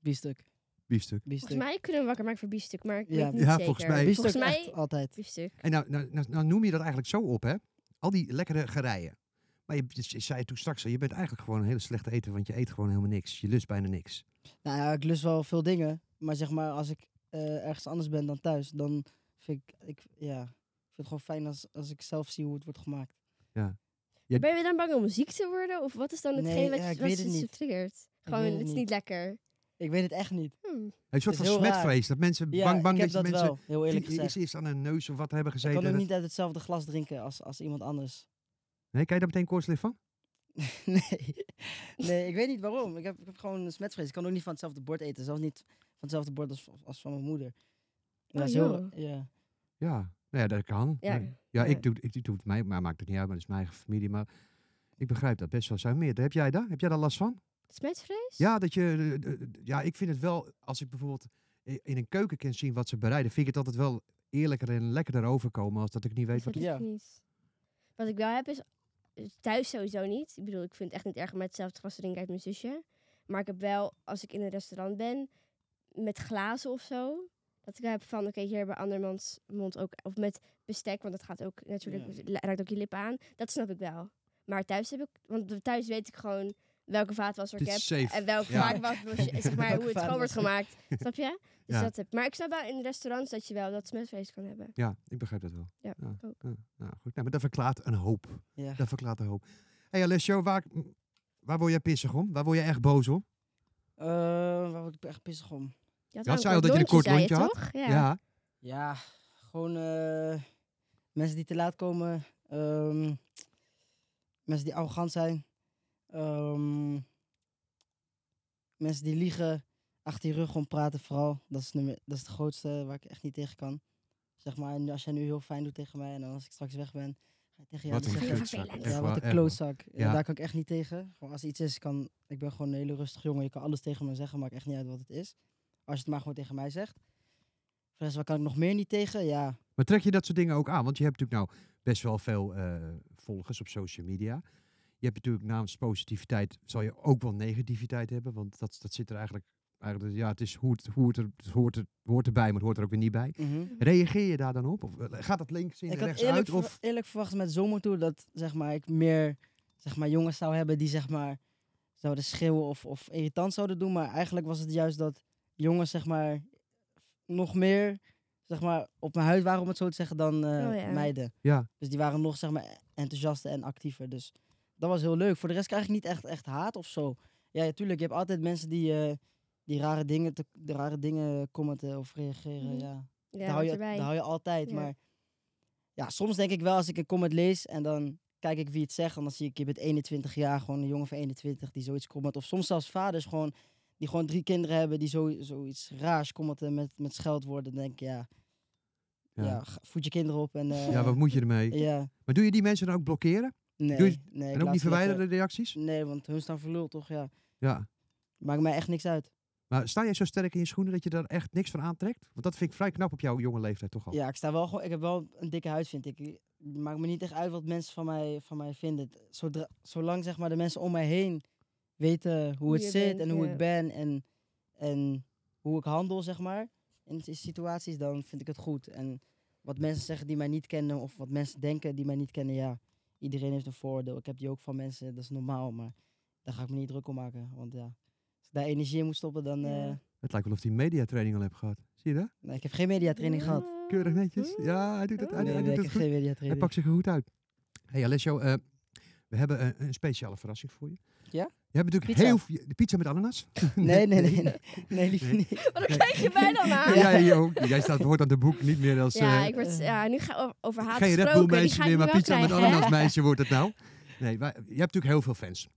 biefstuk, Biefstuk. biefstuk. Volgens mij kunnen we wakker maken voor biefstuk, maar ik Ja. weet het niet Ja, zeker. volgens mij- biefstuk Volgens echt mij altijd. biefstuk. En nou, nou, nou, nou noem je dat eigenlijk zo op, hè? Al die lekkere gerijen. Maar je, je zei het toen straks, al, je bent eigenlijk gewoon een hele slechte eter, want je eet gewoon helemaal niks. Je lust bijna niks. Nou ja, ik lust wel veel dingen, maar zeg maar als ik eh, ergens anders ben dan thuis, dan vind ik, ik ja, ik vind het gewoon fijn als, als ik zelf zie hoe het wordt gemaakt. Ben je dan bang om ziek te worden? Of wat is dan hetgeen Nee, wat, ja, je- ik wat weet je het zo niet. triggert? Gewoon, weet het het is niet, niet. lekker. Ik weet het echt niet. Hm. Een soort Het van is heel raar. smetvrees. Dat mensen Ja, bang, bang ik heb dat, dat je mensen wel, heel eerlijk i- i- gezegd. is, is aan hun neus of wat Ik hebben gezeten. kan ook en- niet uit hetzelfde glas drinken als, als iemand anders. Nee, krijg je daar meteen koortslicht van? *laughs* Nee. nee, ik weet niet waarom. Ik heb, ik heb gewoon smetvrees. Ik kan ook niet van hetzelfde bord eten. Zelfs niet van hetzelfde bord als, als van mijn moeder. Oh, is heel- joh. ja. Ja, nou ja dat kan. Ja. Nee. Ja. Ja, ik doe, ik doe het mij, maar maakt het niet uit, maar dat is mijn eigen familie. Maar Ik begrijp dat best wel, Zuid-Meer. Heb jij daar? Heb jij daar last van? Smetvrees? Ja, dat je, eh, eh, ja, ik vind het wel, als ik bijvoorbeeld i- in een keuken kan zien wat ze bereiden, vind ik het altijd wel eerlijker en lekkerder overkomen als dat ik niet Dat weet heb wat... ik Ja. niet. Wat ik wel heb is eh, thuis sowieso niet. Ik bedoel, ik vind het echt niet erg om met hetzelfde glas te drinken uit mijn zusje. Maar ik heb wel, als ik in een restaurant ben, met glazen of zo. Dat ik heb van, oké, hier hebben andermans mond ook. Of met bestek, want dat gaat ook natuurlijk, Ja. la- raakt ook je lippen aan. Dat snap ik wel. Maar thuis heb ik, want thuis weet ik gewoon welke vaatwasser Het ik is heb. eh, safe. En welk Ja. vaak *laughs* was, zeg maar, Welke hoe het schoon wordt vaatwasser. gemaakt. Snap je? Dus Ja. dat heb, maar ik snap wel in restaurants dat je wel dat smetvlees kan hebben. Ja, ik begrijp dat wel. Ja, ja. ook. ja, ja, goed. Nou, maar dat verklaart een hoop. Ja. Dat verklaart een hoop. hey, Alessio, waar, waar word jij pissig om? Waar word je echt boos om? Eh, waar word ik echt pissig om? Je Ja, ook zei al dat je een kort zei lontje had. Toch? Ja, gewoon eh, mensen die te laat komen. ehm, mensen die arrogant zijn. ehm, mensen die liegen. Achter je rug om praten vooral. Dat is, nummer, dat is het grootste waar ik echt niet tegen kan. Zeg maar, en als jij nu heel fijn doet tegen mij en dan als ik straks weg ben, ga ik tegen jou Wat dus een zeggen, kutzak. Ja, Echt Ja, waar, wat een echt waar. klootzak. Ja, Ja. Daar kan ik echt niet tegen. Gewoon als er iets is, kan, ik ben gewoon een hele rustige jongen. Je kan alles tegen me zeggen, maakt echt niet uit wat het is. Als je het maar gewoon tegen mij zegt. Voor de rest, waar kan ik nog meer niet tegen? Ja, Maar trek je dat soort dingen ook aan? Want je hebt natuurlijk nou best wel veel eh, volgers op social media. Je hebt natuurlijk namens positiviteit, zal je ook wel negativiteit hebben. Want dat, dat zit er eigenlijk, eigenlijk, ja, het is hoe het, hoe het, er, het hoort, er, het hoort erbij, maar het hoort er ook weer niet bij. mhm. Reageer je daar dan op? Of eh, gaat dat links in, ik had rechts eerlijk, uit? ver- Of, eerlijk verwacht met Zomertour dat zeg maar, ik meer zeg maar, jongens zou hebben die zeg maar, zouden schreeuwen of, of irritant zouden doen. Maar eigenlijk was het juist dat jongens zeg maar, nog meer zeg maar, op mijn huid waren, om het zo te zeggen, dan eh, Oh ja. meiden. Ja. Dus die waren nog zeg maar, enthousiaster en actiever. Dus dat was heel leuk. Voor de rest krijg ik niet echt, echt haat of zo. Ja, natuurlijk. je hebt altijd mensen die, eh, die rare, dingen te, de rare dingen commenten of reageren. Mhm. Ja. Ja, daar, hou je, hoort erbij. daar hou je altijd. Ja. Maar ja, soms denk ik wel als ik een comment lees en dan kijk ik wie het zegt. En dan zie ik, je bent 21 jaar, gewoon een jongen van 21 die zoiets comment. Of soms zelfs vaders gewoon, die gewoon drie kinderen hebben die zo, zoiets raars commenten met, met scheldwoorden. Dan denk ik, ja, ja. ja. ga- voed je kinderen op. En, eh, ja, wat moet je ermee? Ja, Maar doe je die mensen dan ook blokkeren? nee. Doe je- nee ik en ook laat niet ze lekker. verwijderde reacties? Nee, want hun staan voor lul, toch? Ja. Ja. Maakt mij echt niks uit. Maar sta jij zo sterk in je schoenen dat je daar echt niks van aantrekt? Want dat vind ik vrij knap op jouw jonge leeftijd toch al. Ja, ik sta wel gewoon. Ik heb wel een dikke huid, vind ik. Ik- Maakt me niet echt uit wat mensen van mij, van mij vinden. Zodra, zolang zeg maar de mensen om mij heen weten hoe Hoe het je zit bent, en hoe ja. ik ben en, en hoe ik handel, zeg maar. In s- situaties, dan vind ik het goed. En wat mensen zeggen die mij niet kennen of wat mensen denken die mij niet kennen, ja. Iedereen heeft een voordeel. Ik heb die ook van mensen, dat is normaal. Maar daar ga ik me niet druk om maken. Want ja, als ik daar energie in moet stoppen, dan... Ja. eh, Het lijkt wel of hij mediatraining al hebt gehad. Zie je dat? nee, ik heb geen mediatraining gehad. Mm. *laughs* Keurig netjes. Ja, hij doet het. Hij, Nee, hij nee, doet ik heb geen het ah, goed. Hij mediatraining. pakt zich er goed uit. hey Alessio, eh, we hebben een, een speciale verrassing voor je. Ja? Je hebt natuurlijk Pizza. heel veel... De pizza met *laughs* ananas? Nee, nee, nee. Nee, nee liever Nee. niet. Maar dan kijk je mij *laughs* dan aan. Ja, jij ook. Jij staat hoort aan de boek niet meer als... Ja, eh, ik word, ja, nu ga over- over haat geen Red Bull gesproken. Die meisje ga ik meer, nu maar wel pizza met krijgen, hè? ananas *laughs* meisje wordt het nou. Nee, maar je hebt natuurlijk heel veel fans.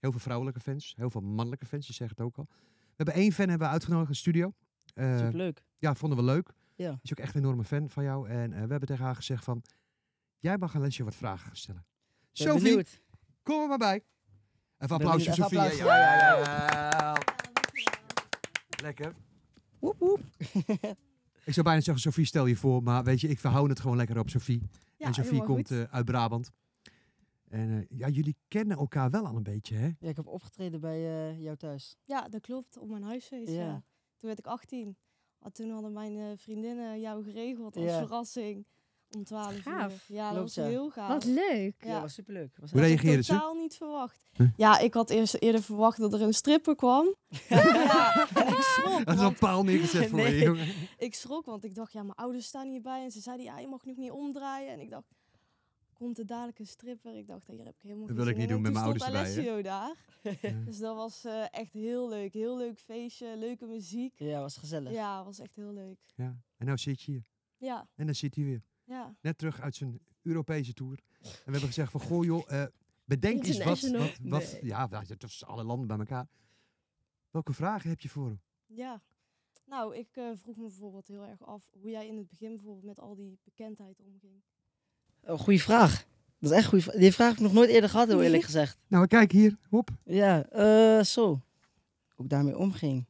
Heel veel vrouwelijke fans. Heel veel mannelijke fans, je zegt het ook al. We hebben één fan hebben we uitgenodigd in de studio. Eh, Superleuk. ja, vonden we leuk. Ja. Is ook echt een enorme fan van jou. En eh, we hebben tegen haar gezegd van... Jij mag Alessio wat vragen stellen. Ben Sophie, benieuwd. kom er maar bij. Even Ben applausje, benieuwd. Sophie. Even Ja, ja, ja, ja. Lekker. Woep, woep. *laughs* Ik zou bijna zeggen, Sophie, stel je voor. Maar weet je, ik verhoud het gewoon lekker op Sophie. Ja, en Sophie helemaal komt goed. eh, uit Brabant. En eh, ja, jullie kennen elkaar wel al een beetje, hè? Ja, ik heb opgetreden bij eh, jou thuis. Ja, dat klopt. Op mijn huisfeest. Ja. Ja. Toen werd ik 18. En toen hadden mijn eh, vriendinnen jou geregeld als Ja. verrassing. Om 12 Gaaf. uur. Ja, dat Klopt, was ja. heel gaaf. Wat leuk. Ja, was superleuk. Was Hoe Had echt- ik reageerden ze? totaal niet verwacht. Huh? Ja, ik had eerst eerder verwacht dat er een stripper kwam. ja, en ik schrok. Dat is een want- paal *laughs* neergezet voor je, Oh, Nee. jongen. ik schrok, want ik dacht, ja, mijn ouders staan hierbij. En ze zeiden, ja, je mag nog niet omdraaien. En ik dacht, komt er dadelijk een stripper? Ik dacht, hier heb ik helemaal Dat geen wil ik zin niet in. doen En met toen mijn stond ouders erbij, Alessio *laughs* daar. Dus dat was eh, echt heel leuk. Heel leuk feestje, leuke muziek. Ja, was gezellig. Ja, was echt heel leuk. Ja. En nou zit je hier. Ja, En dan zit hij weer. ja. Net terug uit zijn Europese tour. En we hebben gezegd van, goh joh, eh, bedenk eens wat... International. wat, wat Nee. Ja, nou, het is alle landen bij elkaar. Welke vragen heb je voor hem? Ja. Nou, ik eh, vroeg me bijvoorbeeld heel erg af hoe jij in het begin bijvoorbeeld met al die bekendheid omging. Oh, goeie vraag. Dat is echt goed. Die vraag heb ik nog nooit eerder gehad, heel *laughs* eerlijk gezegd. Nou, kijk hier. Hop. Ja, eh, zo. Hoe ik daarmee omging.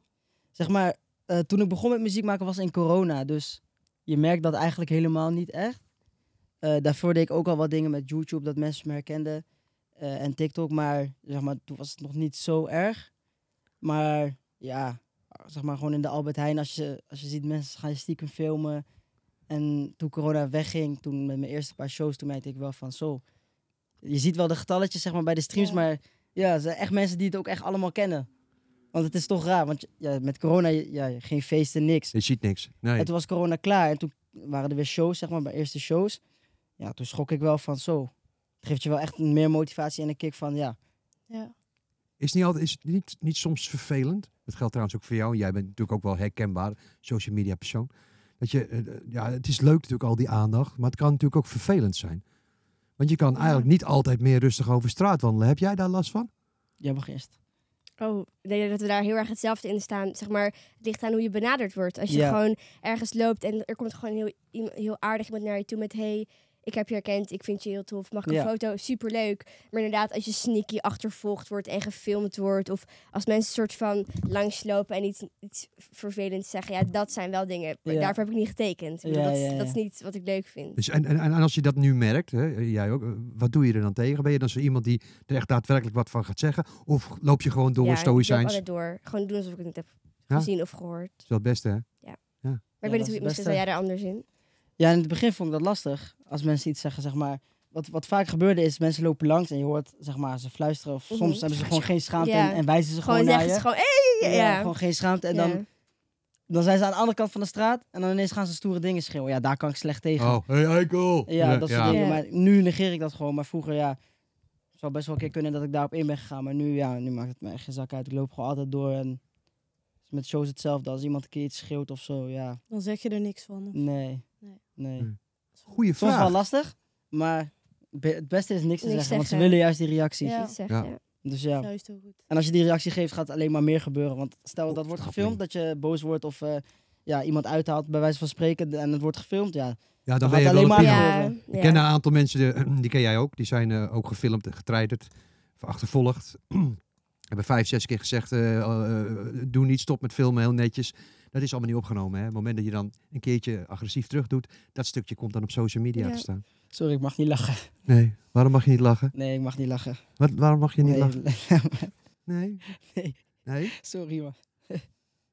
Zeg maar, eh, toen ik begon met muziek maken was in corona. Dus je merkt dat eigenlijk helemaal niet echt. Eh, daarvoor deed ik ook al wat dingen met YouTube, dat mensen me herkenden. eh, en TikTok, maar, zeg maar toen was het nog niet zo erg. Maar ja, zeg maar gewoon in de Albert Heijn. Als je, als je ziet mensen gaan je stiekem filmen. En toen corona wegging, toen met mijn eerste paar shows, toen merkte ik wel van zo. Je ziet wel de getalletjes zeg maar, bij de streams, Ja. maar ja, het zijn echt mensen die het ook echt allemaal kennen. Want het is toch raar, want ja, met corona, ja, geen feesten, niks. Je ziet niks. Nee. En toen was corona klaar en toen waren er weer shows, zeg maar, mijn eerste shows. Ja, toen schrok ik wel van zo. Het geeft je wel echt meer motivatie en een kick van ja. Ja. Is, niet altijd, is het niet, niet soms vervelend? Dat geldt trouwens ook voor jou. Jij bent natuurlijk ook wel herkenbaar, social media persoon. Dat je, eh, eh, ja, het is leuk natuurlijk al die aandacht, maar het kan natuurlijk ook vervelend zijn. Want je kan Ja. eigenlijk niet altijd meer rustig over straat wandelen. Heb jij daar last van? Jij mag eerst. Oh, ik denk dat we daar heel erg hetzelfde in staan. Zeg maar, het ligt aan hoe je benaderd wordt. Als je Ja. gewoon ergens loopt en er komt gewoon heel, iem- heel aardig iemand naar je toe met... Hey, ik heb je herkend, ik vind je heel tof, mag ik een Ja. foto? Superleuk. Maar inderdaad, als je sneaky achtervolgd wordt en gefilmd wordt... of als mensen een soort van langslopen en iets, iets vervelends zeggen... ja, dat zijn wel dingen. Maar Ja. Daarvoor heb ik niet getekend. Ik bedoel, Ja, dat, is- ja, ja. dat is niet wat ik leuk vind. Dus en, en, en als je dat nu merkt, hè, jij ook, eh, wat doe je er dan tegen? Ben je dan zo iemand die er echt daadwerkelijk wat van gaat zeggen? Of loop je gewoon door ja, Ik stoïcijns? loop altijd door. Gewoon doen alsof ik het niet heb Ja? gezien of gehoord. is wel het beste, hè? Maar Ja, ik weet dat niet is hoe, misschien best, sta jij daar anders in. Ja, in het begin vond ik dat lastig. Als mensen iets zeggen, zeg maar. Wat, wat vaak gebeurde is, mensen lopen langs en je hoort, zeg maar, ze fluisteren. Of Mhm. soms hebben ze gewoon geen schaamte Ja. en, en wijzen ze gewoon, Gewoon naar zeggen je. ze gewoon... Hey! Ja, Ja. gewoon geen schaamte. En Ja. dan, dan zijn ze aan de andere kant van de straat en dan ineens gaan ze stoere dingen schreeuwen. Ja, daar kan ik slecht tegen. Oh, hey Eikel! Ja, dat soort Ja. dingen. Maar nu negeer ik dat gewoon. Maar vroeger, ja, zou best wel een keer kunnen dat ik daarop in ben gegaan. Maar nu, ja, nu maakt het me echt geen zak uit. Ik loop gewoon altijd door. En met shows hetzelfde. Als iemand een keer iets schreeuwt of zo, ja. Dan zeg je er niks van. of- Nee. Nee. Nee. Hm. Goeie Soms wel vraag. lastig, maar be- het beste is niks te Niks zeggen. Want ze zeggen. willen juist die reactie. Ja. Iets zeggen, Ja. ja. Dus ja. Juist heel goed. En als je die reactie geeft, gaat alleen maar meer gebeuren. Want stel Oh, dat wordt snap gefilmd, ik. dat je boos wordt of eh, ja, iemand uithaalt, bij wijze van spreken, en het wordt gefilmd, ja. Ja, dan Dan ben je gaat wel alleen een maar- piemel. Ja. Ik ken een aantal mensen, eh, *clears throat* die ken jij ook, die zijn eh, ook gefilmd en getreiterd, of achtervolgd. *clears throat* Hebben vijf, zes keer gezegd, eh, eh, doe niet, stop met filmen, heel netjes. Dat is allemaal niet opgenomen. Hè? Op het moment dat je dan een keertje agressief terugdoet, dat stukje komt dan op social media Ja. te staan. Sorry, ik mag niet lachen. Nee, waarom mag je niet lachen? Nee, ik mag niet lachen. Wat, waarom mag je niet Nee, lachen? *laughs* Nee? Nee. Nee? Sorry, man.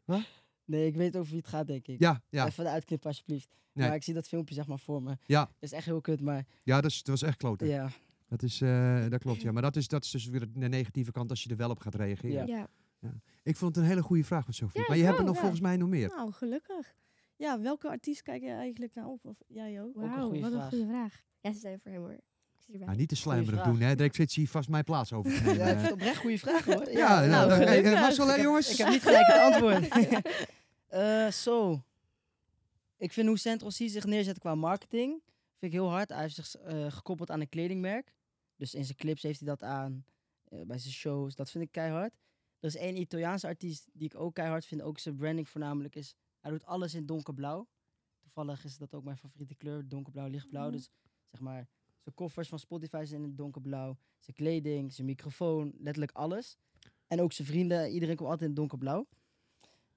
Wat? Nee, ik weet over wie het gaat, denk ik. Ja, ja. Even uitknippen, alsjeblieft. Nee. Maar ik zie dat filmpje, zeg maar, voor me. Ja. Dat is echt heel kut, maar ja dat, is, dat was echt kloten. ja. Dat, is, eh, dat klopt, ja. Maar dat is, dat is dus weer de negatieve kant als je er wel op gaat reageren. Ja. Ja. Ik vond het een hele goede vraag, Sophie. Ja, maar je ik hebt er ook, nog ja. volgens mij nog meer. Nou, gelukkig. Ja, welke artiest kijk je eigenlijk naar op? Of jij ook? een Wauw, goeie wat een vraag. goede vraag. Ja, ze zijn voor hem hoor. Ik zit erbij. Nou, niet te slijmerig vraag. doen, hè. Direct zit ze hier vast mijn plaats over. te ja. nemen, ik vind hè. het oprecht goede vraag, hoor. Ja, nou, nou, eh, gelukkig. eh, Marcel, hè, Ik heb- jongens. Ik heb niet gelijk het antwoord. *laughs* Eh, Zo. Ik vind hoe Central C zich neerzet qua marketing, vind ik heel hard. Hij heeft zich eh, gekoppeld aan een kledingmerk. Dus in zijn clips heeft hij dat aan, eh, bij zijn shows. Dat vind ik keihard. Er is één Italiaanse artiest die ik ook keihard vind, ook zijn branding voornamelijk, is hij doet alles in donkerblauw. Toevallig is dat ook mijn favoriete kleur, donkerblauw, lichtblauw. Mhm. Dus zeg maar, zijn koffers van Spotify zijn in het donkerblauw. Zijn kleding, zijn microfoon, letterlijk alles. En ook zijn vrienden, iedereen komt altijd in het donkerblauw.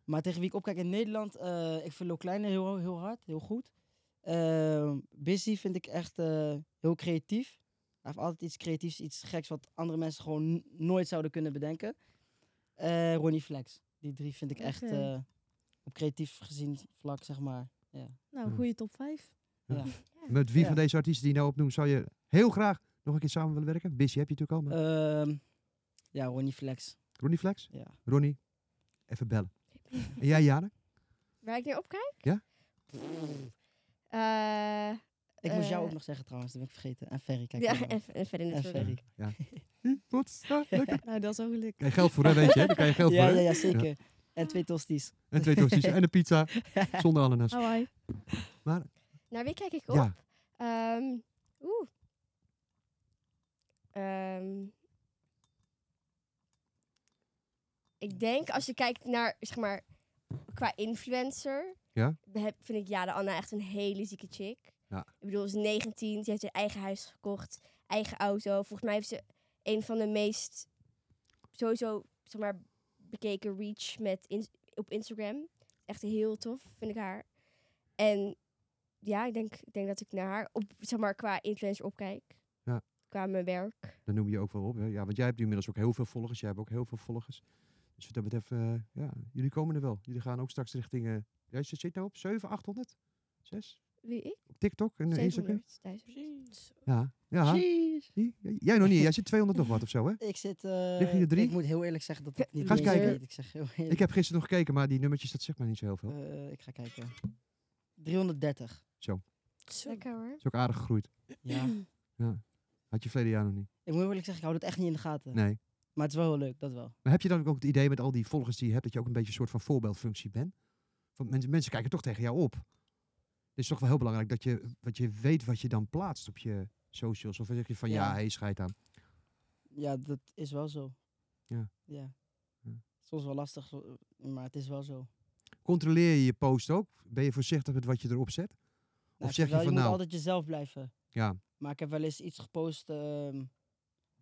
Maar tegen wie ik opkijk in Nederland, eh, ik vind Lo Kleine heel, heel hard, heel goed. Ehm Busy vind ik echt eh, heel creatief. Hij heeft altijd iets creatiefs, iets geks wat andere mensen gewoon n- nooit zouden kunnen bedenken. Eh, Ronnie Flex. Die drie vind ik echt Oké. eh, op creatief gezien vlak, zeg maar. Hm. Nou, goede top 5. Met wie Ja. van deze artiesten die je nou opnoemt, zou je heel graag nog een keer samen willen werken? Busy heb je natuurlijk al, maar... Ehm, ja, Ronnie Flex. Ronnie Flex? Eh, Ja. Ronnie, even *laughs* bellen. en jij, Jana? Waar ik naar opkijk? Ja. Eh, Ik moest jou Eh, ook nog zeggen trouwens, dat heb ik vergeten. En Ferry, kijk. ja, ook nog. en, en verder en natuurlijk. Ferry. Wat? Ja, lekker. Nou, dat is ook leuk. Krijg je geld voor, hè, weet je? hè? Daar krijg je geld Ja, voor, hè? ja, ja, zeker. En twee tosties. En twee toasties en een pizza zonder ananas. Oh, hoi. Maar- Naar wie kijk ik op? Ja, Ehm, Oeh. Ehm, ik denk als je kijkt naar, zeg maar, qua influencer, Ja? heb- vind ik Jade Anna echt een hele zieke chick. Ja. Ik bedoel, ze is 19, ze heeft haar eigen huis gekocht, eigen auto. Volgens mij heeft ze een van de meest sowieso zeg maar, bekeken reach met in- op Instagram. Echt heel tof, vind ik haar. En ja, ik denk, ik denk dat ik naar haar op, zeg maar, qua influencer opkijk. Ja. Qua mijn werk. Dan noem je ook wel op. Hè? Ja, want jij hebt inmiddels ook heel veel volgers. Jij hebt ook heel veel volgers. Dus wat dat betreft, eh, ja, jullie komen er wel. Jullie gaan ook straks richting... eh, jij zit zit nou op 700, 800? 6? Wie ik? Op TikTok en eh, Instagram? 700, 1000. Ja. ja. Jeez. Zie? J- Jij nog niet. Jij zit 200 nog wat of zo, hè? Ik zit... eh, Liggen hier drie? Ik moet heel eerlijk zeggen dat ik niet Ga eens eens kijken. weet. Ik zeg heel eerlijk. Ik heb gisteren nog gekeken, maar die nummertjes, dat zegt mij niet zo heel veel. Eh, ik ga kijken. 330. Zo. Lekker hoor. is ook aardig gegroeid. *clears throat* Ja. Had je verleden jaar nog niet? ik moet eerlijk zeggen, ik hou het echt niet in de gaten. Nee. Maar het is wel heel leuk, dat wel. Maar heb je dan ook het idee met al die volgers die je hebt, dat je ook een beetje een soort van voorbeeldfunctie bent? Want mensen, mensen kijken toch tegen jou op. Het is toch wel heel belangrijk dat je, dat je weet wat je dan plaatst op je socials. Of zeg je van ja, Ja. hé, hey, scheid aan. Ja, dat is wel zo. Ja. Ja. Ja. Soms wel lastig, zo- maar het is wel zo. Controleer je je post ook? Ben je voorzichtig met wat je erop zet? Nou, ik vind zeg je wel, van moet nou- altijd jezelf blijven. Ja. Maar ik heb wel eens iets gepost ehm,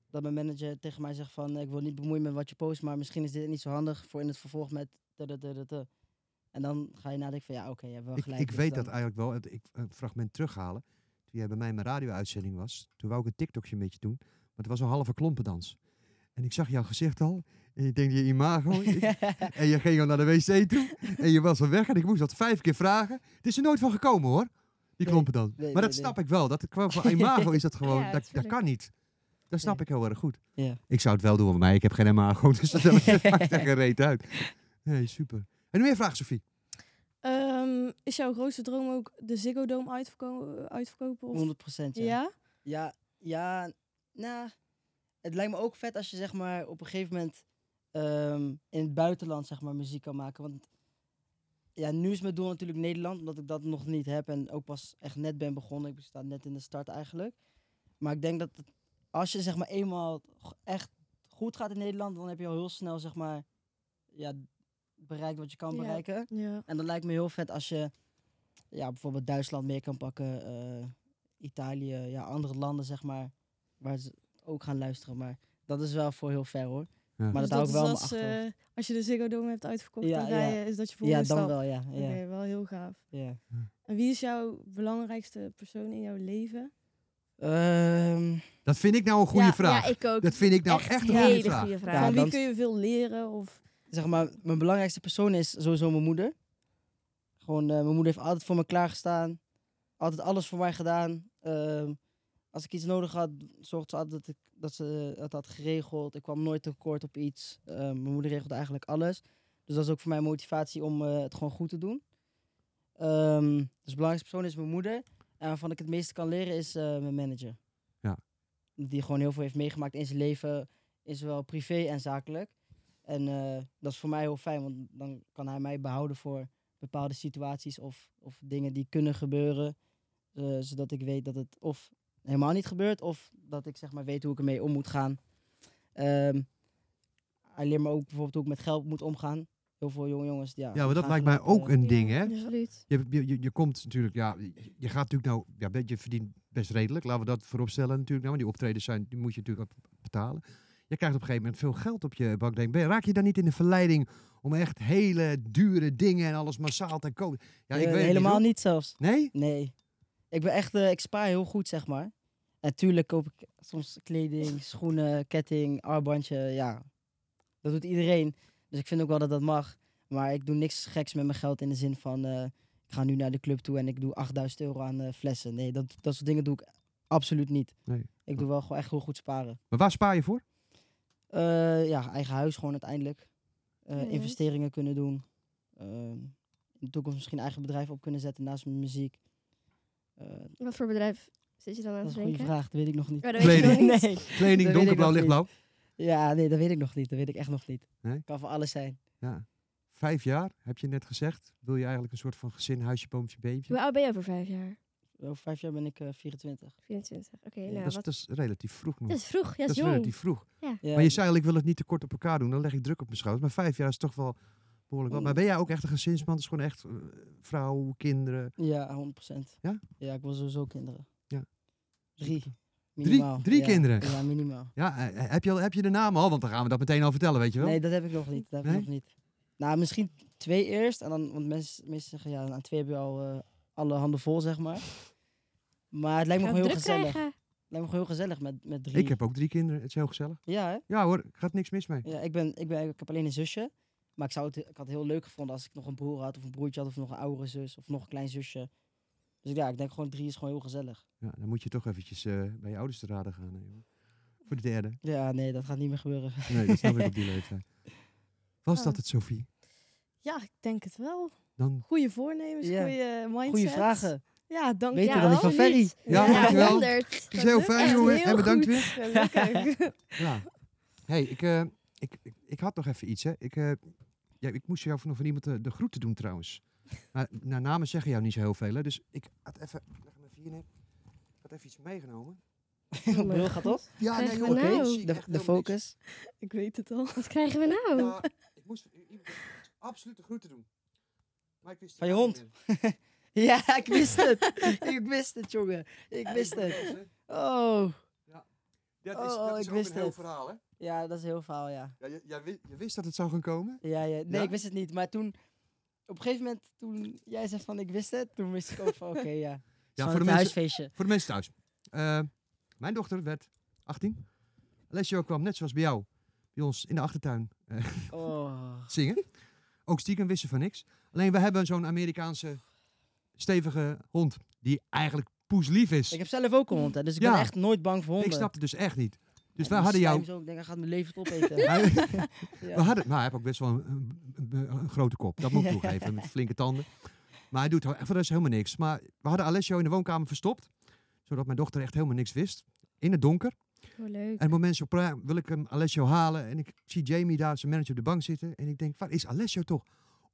dat mijn manager tegen mij zegt van... ik wil niet bemoeien met wat je post, maar misschien is dit niet zo handig voor in het vervolg met... te, te, te, te, te." En dan ga je nadenken van ja, oké, je hebt wel Ik, gelijk. ik dus weet dan- dat eigenlijk wel. Het- Ik een fragment terughalen. Toen jij bij mij in mijn radio-uitzending was, toen wou ik een TikTokje met je doen. Maar het was een halve klompendans. En ik zag jouw gezicht al. En ik denk, je *laughs* imago. ik- En je ging al naar de wc toe. En je was al weg. En ik moest dat vijf keer vragen. Het is er nooit van gekomen hoor. Die Nee, klompen dan. nee, maar dat nee, snap ik wel. Dat kwam van *laughs* imago is dat gewoon. Ja, dat, dat tuurlijk. kan niet. Dat snap Nee. ik heel erg goed. Ja. Ik zou het wel doen, maar ik heb geen imago. *laughs* Dus dat *laughs* maakt er geen reet uit. Nee, super. En nu meer vraag, Sophie. Ehm, is jouw grootste droom ook de Ziggo Dome uitverko- uitverkopen? Of? 100% ja. Ja? Ja, ja, nou, het lijkt me ook vet als je zeg maar op een gegeven moment ehm, in het buitenland zeg maar muziek kan maken. Want ja, nu is mijn doel natuurlijk Nederland, omdat ik dat nog niet heb en ook pas echt net ben begonnen. Ik sta net in de start eigenlijk. Maar ik denk dat het- als je zeg maar eenmaal g- echt goed gaat in Nederland, dan heb je al heel snel zeg maar ja, bereikt wat je kan Ja. bereiken. Ja. En dat lijkt me heel vet als je ja, bijvoorbeeld Duitsland meer kan pakken, eh, Italië, ja, andere landen zeg maar, waar ze ook gaan luisteren. Maar dat is wel voor heel ver hoor. Ja. Maar Dus dat hou ik is wel in als, mijn achterhoofd. eh, als je de Ziggo Dome hebt uitverkocht, Ja, dan ja. ga je, is dat je ja, volgende dan stap? wel, ja. ja, Oké, wel heel gaaf. ja. En wie is jouw belangrijkste persoon in jouw leven? Ehm, Dat vind ik nou een goede Ja, vraag. Ja, ik ook. dat vind ik nou echt, een een goede hele vraag. goede Ja, Van vraag. wie dan- kun je veel leren? Of zeg maar, mijn belangrijkste persoon is sowieso mijn moeder. Gewoon, eh, mijn moeder heeft altijd voor me klaargestaan. Altijd alles voor mij gedaan. Ehm, als ik iets nodig had, zorgde ze altijd dat, ik, dat ze het had geregeld. Ik kwam nooit tekort op iets. Ehm, mijn moeder regelde eigenlijk alles. Dus dat is ook voor mij motivatie om eh, het gewoon goed te doen. Ehm, dus de belangrijkste persoon is mijn moeder. En waarvan ik het meeste kan leren is eh, mijn manager. Ja. Die gewoon heel veel heeft meegemaakt in zijn leven. In zowel privé en zakelijk. En eh, dat is voor mij heel fijn, want dan kan hij mij behouden voor bepaalde situaties of, of dingen die kunnen gebeuren. eh, zodat ik weet dat het of helemaal niet gebeurt, of dat ik zeg maar weet hoe ik ermee om moet gaan. Ehm, hij leert me ook bijvoorbeeld hoe ik met geld moet omgaan. Heel veel jonge jongens, ja. Ja, maar dat gaan lijkt mij gelijk, ook eh, een ding, hè? Absoluut. Je, je, je- je komt natuurlijk, ja, je- je gaat natuurlijk nou, ja, ben- je verdient best redelijk, laten we dat vooropstellen natuurlijk. Nou, want die optredens zijn, die moet je natuurlijk ook betalen. Je krijgt op een gegeven moment veel geld op je bank. Denk, ben- raak je dan niet in de verleiding om echt hele dure dingen en alles massaal te kopen? Ja, ik eh, weet het helemaal hoor. niet, zelfs. Nee? Nee. Ik ben echt, eh, ik spaar heel goed, zeg maar. Natuurlijk koop ik soms kleding, schoenen, ketting, armbandje, ja. Dat doet iedereen. Dus ik vind ook wel dat dat mag. Maar ik doe niks geks met mijn geld in de zin van... eh, ik ga nu naar de club toe en ik doe 8000 euro aan eh, flessen. Nee, dat, dat soort dingen doe ik absoluut niet. Nee. Ik doe wel gewoon echt heel goed sparen. Maar waar spaar je voor? Eh, ja, eigen huis gewoon uiteindelijk. Eh, Ja, nice. Investeringen kunnen doen. Ehm, in de toekomst misschien eigen bedrijf op kunnen zetten naast mijn muziek. Eh, Wat voor bedrijf zit je dan aan dat is het een goede denken? vraag, dat weet ik nog niet. Ja, dat weet je nog Kleding. *laughs* niet. Nee. weet Kleding, ik donkerblauw, nog niet. lichtblauw. Ja, nee, dat weet ik nog niet. Dat weet ik echt nog niet. Nee? Kan voor alles zijn. Vijf jaar, heb je net gezegd. Wil je eigenlijk een soort van gezin, huisje, boompje, beentje? Hoe oud ben je over vijf jaar? Over vijf jaar ben ik eh, 24. 24. Oké, Ja, nou, dat, is, wat... dat is relatief vroeg nog. dat is vroeg. Ja, dat dat is jong. relatief vroeg. Ja, Maar je zei al, ik wil het niet te kort op elkaar doen. Dan leg ik druk op mijn schouders. Maar vijf jaar is toch wel behoorlijk wat. Maar ben jij ook echt een gezinsman? Dus gewoon echt eh, vrouw, kinderen? Ja, 100%. Ja? Ja, ik wil sowieso kinderen. Ja. Drie. Minimaal. drie ja. kinderen? Ja, minimaal. Ja, eh, eh, heb je, al, heb je de naam al? Want dan gaan we dat meteen al vertellen, weet je wel? Nee, dat heb ik nog niet. Dat heb Nee? ik nog niet. Nou, misschien twee eerst. En dan, want mensen, mensen zeggen, ja, aan twee heb je al eh, alle handen vol, zeg maar. Maar het lijkt me Ga gewoon ik heel druk gezellig. krijgen. Het lijkt me gewoon heel gezellig met, met drie. ik heb ook drie kinderen, het is heel gezellig. Ja, hè? Ja hoor, er gaat niks mis mee. Ja, ik, ben, ik, ben, ik heb alleen een zusje. Maar ik, zou het, ik had het heel leuk gevonden als ik nog een broer had, of een broertje had, of nog een oudere zus, of nog een klein zusje. Dus ja, ik denk gewoon drie is gewoon heel gezellig. Ja, dan moet je toch eventjes eh, bij je ouders te raden gaan. hè, jongen. Voor de derde. Ja, nee, dat gaat niet meer gebeuren. Nee, dat snap ik op die leeftijd. Was Ah. dat het, Sophie? Ja, ik denk het wel. Dan... Goede voornemens, Ja. goede mindset. Goeie vragen. Ja, dank Beter je dan die van wel. Ferry. Ja, dankjewel. 100. Het is heel fijn, Echt jongen. heel En bedankt goed. weer. *laughs* Gelukkig. Ja. hey, ik, eh, ik, ik, ik had nog even iets, hè. Ik, eh, ja, ik moest jou nog van iemand eh, de, de groeten doen, trouwens. Maar nou, namen zeggen jou niet zo heel veel, hè. Dus ik had even... Leg hem even hier neer. Ik had even iets meegenomen. Mijn *laughs* bril gaat op. Ja, Krijgen we Oké, nou? zie ik de, echt de helemaal niks. focus. *laughs* Ik weet het al. Wat krijgen we nou? *laughs* Ja, ik moest iemand absoluut de groeten doen. Maar ik wist Van je hond? *laughs* Ja, ik wist *laughs* het. ik wist het, jongen. Ik wist het. Oh. Dat is, Oh, dat is ik ook wist een heel het. verhaal, hè? Ja, dat is heel faal, ja. Ja, je, jij wist, je wist dat het zou gaan komen? ja, ja. Nee, Ja? ik wist het niet. Maar toen, op een gegeven moment, toen jij zei van ik wist het, toen wist ik ook van oké, ja. Het is *laughs* Ja, gewoon voor de het mensen- huisfeestje. Voor de mensen thuis. Eh, mijn dochter werd 18. Alessio kwam net zoals bij jou, bij ons in de achtertuin eh, *laughs* Oh. zingen. Ook stiekem wisten van niks. Alleen we hebben zo'n Amerikaanse stevige hond die eigenlijk poeslief is. Ik Ik, heb zelf ook een hond, hè, dus ik ben Ja. echt nooit bang voor honden. snap het dus echt niet. Dus Ja, wij die hadden jou... slijm Zo, ik denk, hij gaat mijn leven *laughs* opeten. ja. Hij- We hadden, maar hij heeft ook best wel een, een- een- een grote kop. Dat *laughs* moet ik toegeven, met flinke tanden. Maar hij doet voor de rest helemaal niks. Maar we hadden Alessio in de woonkamer verstopt. Zodat mijn dochter echt helemaal niks wist. In het donker. Oh, leuk. En op het moment zo pra- wil ik hem Alessio halen. En ik zie Jamie daar, zijn manager, op de bank zitten. En ik denk, waar is Alessio toch?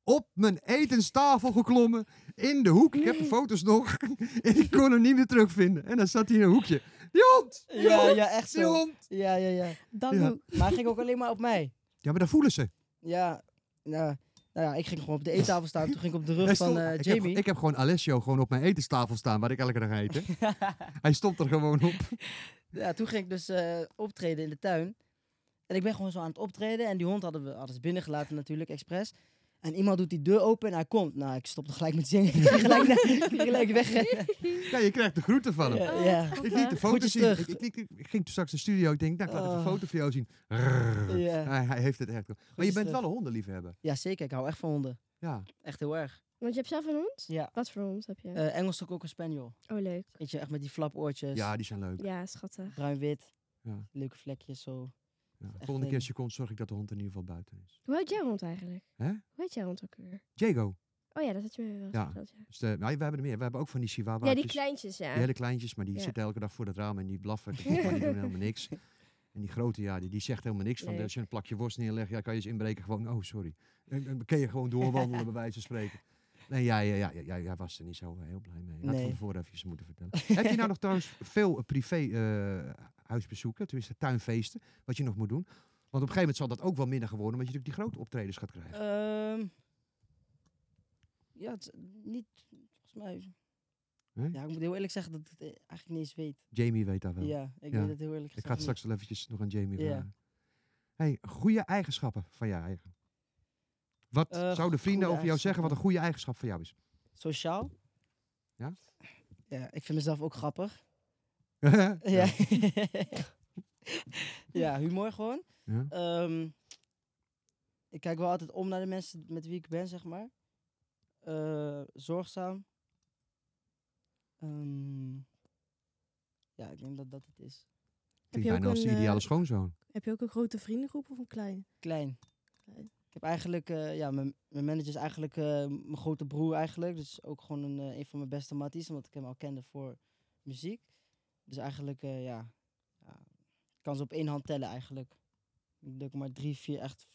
Op mijn etenstafel geklommen. In de hoek. Ik heb de foto's nog. *laughs* en ik kon hem niet meer terugvinden. En dan zat hij in een hoekje. Die hond! Die ja, hond! ja, echt Die zo. hond! Ja, ja, ja. Dank Ja. u. Maar hij ging ook alleen maar op mij. Ja, maar dan voelen ze. Ja, nou, nou ja, ik ging gewoon op de eettafel staan. Toen ging ik op de Hij rug van stond- eh, ik, heb, Jamie. ik heb gewoon Alessio gewoon op mijn etenstafel staan waar ik elke dag ga eten. *laughs* Hij stond er gewoon op. Ja, toen ging ik dus eh, optreden in de tuin. En ik ben gewoon zo aan het optreden. En die hond hadden we hadden ze binnengelaten natuurlijk, expres. En iemand doet die deur open en hij komt. Nou, ik stopte gelijk met zingen. *laughs* Ik ging gelijk, naar- ik ging gelijk wegrennen. Ja, je Oh, krijgt de groeten van hem. Ja, ja. Ik liet de foto Groetjes zien. terug. Ik, ik, ik- ik ging toen straks de studio. Ik denk, nou, ik laat even een Oh. foto van jou zien. Rrrr. Ja. Hij, hij heeft het echt. wel. Maar je Groetjes bent terug. wel een hondenliefhebber. Ja, zeker. Ik hou echt van honden. Ja. Echt heel erg. Want je hebt zelf een hond? Ja. Wat voor hond heb je? Eh Engelse Cocker Spaniel. oh, leuk. Weet je, echt met die flapoortjes. ja, die zijn leuk. Ja, schattig. Bruin-wit. Ja. Leuke vlekjes zo. Ja. echt Volgende keer een- als je komt, zorg ik dat de hond in ieder geval buiten is. Hoe heet jouw hond eigenlijk? Hè? Hoe heet jouw hond ook weer? Jago. Oh ja, dat had je me wel eens Ja. verteld, ja. Dus de, nou, we hebben er meer. We hebben ook van die chihuahua's. Ja, die kleintjes, ja. Die hele kleintjes, maar die Ja. zitten elke dag voor het raam en die blaffen. maar die doen helemaal niks. En die grote, ja, die, die zegt helemaal niks. Van, Leuk. als je een plakje worst neerlegt, ja, kan je eens inbreken. Gewoon, oh, sorry. En dan kun je gewoon doorwandelen, bij wijze van spreken. Nee, jij, eh, ja, ja, ja, jij was er niet zo eh, heel blij mee. Je had van Nee. tevoren even moeten vertellen. Heb je nou nog trouwens veel eh, privé eh, huisbezoeken, tenminste tuinfeesten, wat je nog moet doen? Want op een gegeven moment zal dat ook wel minder geworden, omdat je natuurlijk die grote optredens gaat krijgen. Ehm, ja, het is niet... Volgens mij... Nee? Ja, ik moet heel eerlijk zeggen dat ik het eh, eigenlijk niet eens weet. Jamie weet dat wel. Ja, ik Ja. weet het heel eerlijk Ik gezegd ga het niet. straks wel eventjes nog aan Jamie Ja. vragen. Hey, goede eigenschappen van jou eigen. Wat Eh, zouden vrienden goede over jou zeggen wat een goede eigenschap van jou is? Sociaal? Ja? Ja, ik vind mezelf ook grappig. ja. *laughs* Ja. *laughs* ja, humor gewoon. Ja. Ehm, ik kijk wel altijd om naar de mensen met wie ik ben, zeg maar. Eh, zorgzaam. Ehm, ja, ik denk dat dat het is. Heb Klinkt je ook bijna als de een, eh, ideale schoonzoon. Heb je ook een grote vriendengroep of een kleine? Klein. Klein. Ik heb eigenlijk, eh, ja, mijn, mijn manager is eigenlijk eh, mijn grote broer eigenlijk. Dus ook gewoon een, eh, een van mijn beste matties, omdat ik hem al kende voor muziek. Dus eigenlijk, eh, ja, ja, ik kan ze op één hand tellen eigenlijk. Ik denk dat ik maar drie, vier echt,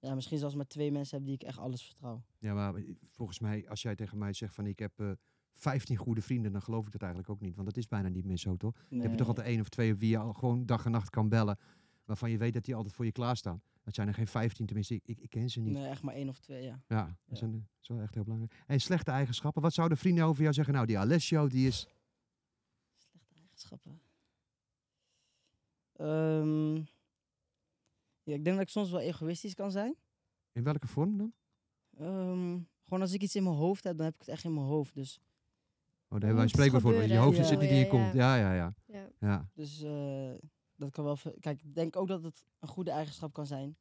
ja, misschien zelfs maar twee mensen heb die ik echt alles vertrouw. Ja, maar eh, volgens mij, als jij tegen mij zegt van ik heb eh 15 goede vrienden, dan geloof ik dat eigenlijk ook niet. Want dat is bijna niet meer zo, toch? Dan heb je toch altijd één of twee op wie je al gewoon dag en nacht kan bellen. Waarvan je weet dat die altijd voor je klaarstaan. Dat zijn er geen 15, tenminste, ik, ik, ik ken ze niet. Nee, echt maar één of twee, ja. Ja, dat, Zijn, eh, dat is wel echt heel belangrijk. En slechte eigenschappen. Wat zouden vrienden over jou zeggen? Nou, die Alessio, die is... Slechte eigenschappen. Ehm, ja, ik denk dat ik soms wel egoïstisch kan zijn. In welke vorm dan? Ehm, gewoon als ik iets in mijn hoofd heb, dan heb ik het echt in mijn hoofd. Dus, Oh, daar hebben wij een moet spreekwoord voor. gebeuren, Je hoofd ja. zit niet in je Ja, ja, kont. Ja, ja, ja. Ja. ja. dus eh, dat kan wel. ver- Kijk, ik denk ook dat het een goede eigenschap kan zijn.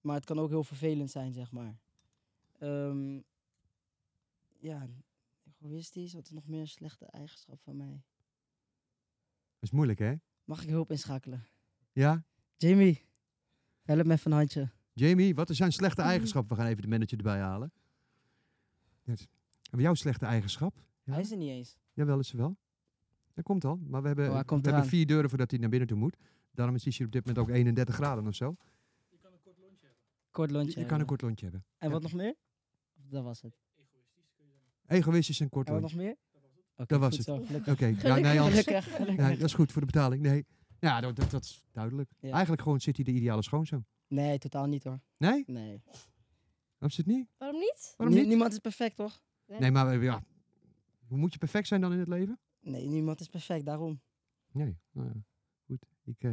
Maar het kan ook heel vervelend zijn, zeg maar. Ehm, ja, egoïstisch. Wat is nog meer een slechte eigenschap van mij? Dat is moeilijk, hè? Mag ik hulp inschakelen? Ja? Jamie, help me even een handje. Jamie, wat is zijn slechte Mm-hmm. eigenschap? We gaan even de manager erbij halen. Net. En jouw slechte eigenschap? Ja? Hij is er niet eens. Jawel, is ze wel. Dat komt al. Maar we hebben, Oh, hij komt we hebben eraan. vier deuren voordat hij naar binnen toe moet. Daarom is hij hier op dit moment ook 31 graden of zo. Kort Je, lunchje. je kan een hebben. kort lontje hebben. En wat nog meer? Of Dat was het. Egoïstisch en kort En wat nog lontje. meer? Oké, Dat was goed het. *laughs* zo, gelukkig. Oké, ja, nee, anders. Gelukkig, gelukkig. Ja, dat is goed voor de betaling. Nee. Ja, dat, dat, dat is duidelijk. Ja. Eigenlijk gewoon zit hij de ideale schoonzoon. Nee, totaal niet hoor. Nee? Nee. Absoluut niet. Waarom niet? Waarom Nie- niet? Niemand is perfect toch? Nee, maar eh, ja. Hoe moet je perfect zijn dan in het leven? Nee, niemand is perfect, daarom. Nee. Nou, ja. goed. Ik, eh,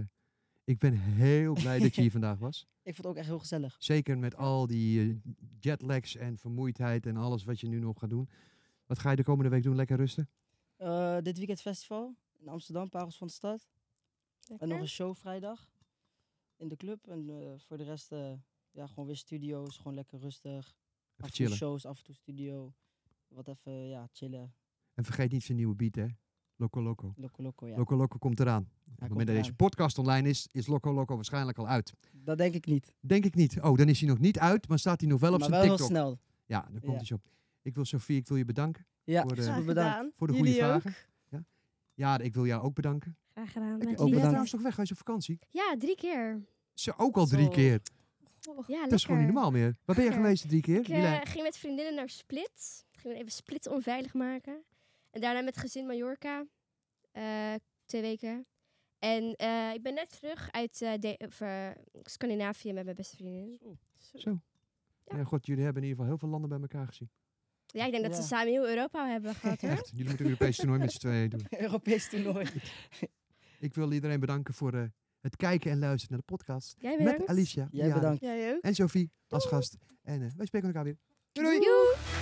ik ben heel blij dat *laughs* je hier vandaag was. Ik vond het ook echt heel gezellig. Zeker met al die eh, jetlags en vermoeidheid en alles wat je nu nog gaat doen. Wat ga je de komende week doen? Lekker rusten? Eh, dit weekend festival in Amsterdam, Parels van de Stad. En nog een show vrijdag in de club. En eh, voor de rest, eh, ja, gewoon weer studio's, gewoon lekker rustig. Af Even en toe chillen. shows, af en toe studio. Wat even, ja, chillen. En vergeet niet zijn nieuwe beat, hè? Loco Loco. Loco, loco, ja. Loco Loco komt eraan. Op Hij het komt moment dat deze eraan. podcast online is, is Loco Loco waarschijnlijk al uit. Dat denk ik niet. Denk ik niet. Oh, dan is hij nog niet uit, maar staat hij nog wel op maar wel zijn heel TikTok. snel. Ja, daar komt Ja. hij zo. Ik wil Sofie, ik wil je bedanken Ja, voor, de- super *laughs* Graag bedankt. gedaan. voor de goede Jullie ook. vragen. Ja? ja, ik wil jou ook bedanken. Graag gedaan. Met Ik, ook bedankt. ben liefde. trouwens toch weg geweest op vakantie? Ja, drie keer. Ze ook al drie Zo. keer. Goh. Ja, Dat is gewoon niet normaal meer. Waar ben je Lekker. geweest drie keer? Ik eh, Milan? ging met vriendinnen naar Split. Gingen we even Split onveilig maken. En daarna met gezin Mallorca. eh, twee weken. En eh, ik ben net terug uit eh, de- of, eh, Scandinavië met mijn beste vriendin. Zo. Ja, eh, god, jullie hebben in ieder geval heel veel landen bij elkaar gezien. Ja, ik denk dat Ja. we samen heel Europa hebben gehad hoor. Echt, jullie moeten een Europees toernooi met z'n tweeën doen. Europees *laughs* toernooi. Ik wil iedereen bedanken voor eh, het kijken en luisteren naar de podcast. Jij bedankt. Met Alicia. Jij Jaren bedankt. Jij ook? En Sofie als gast. En eh, wij spreken elkaar weer. Doei! doei. Doei.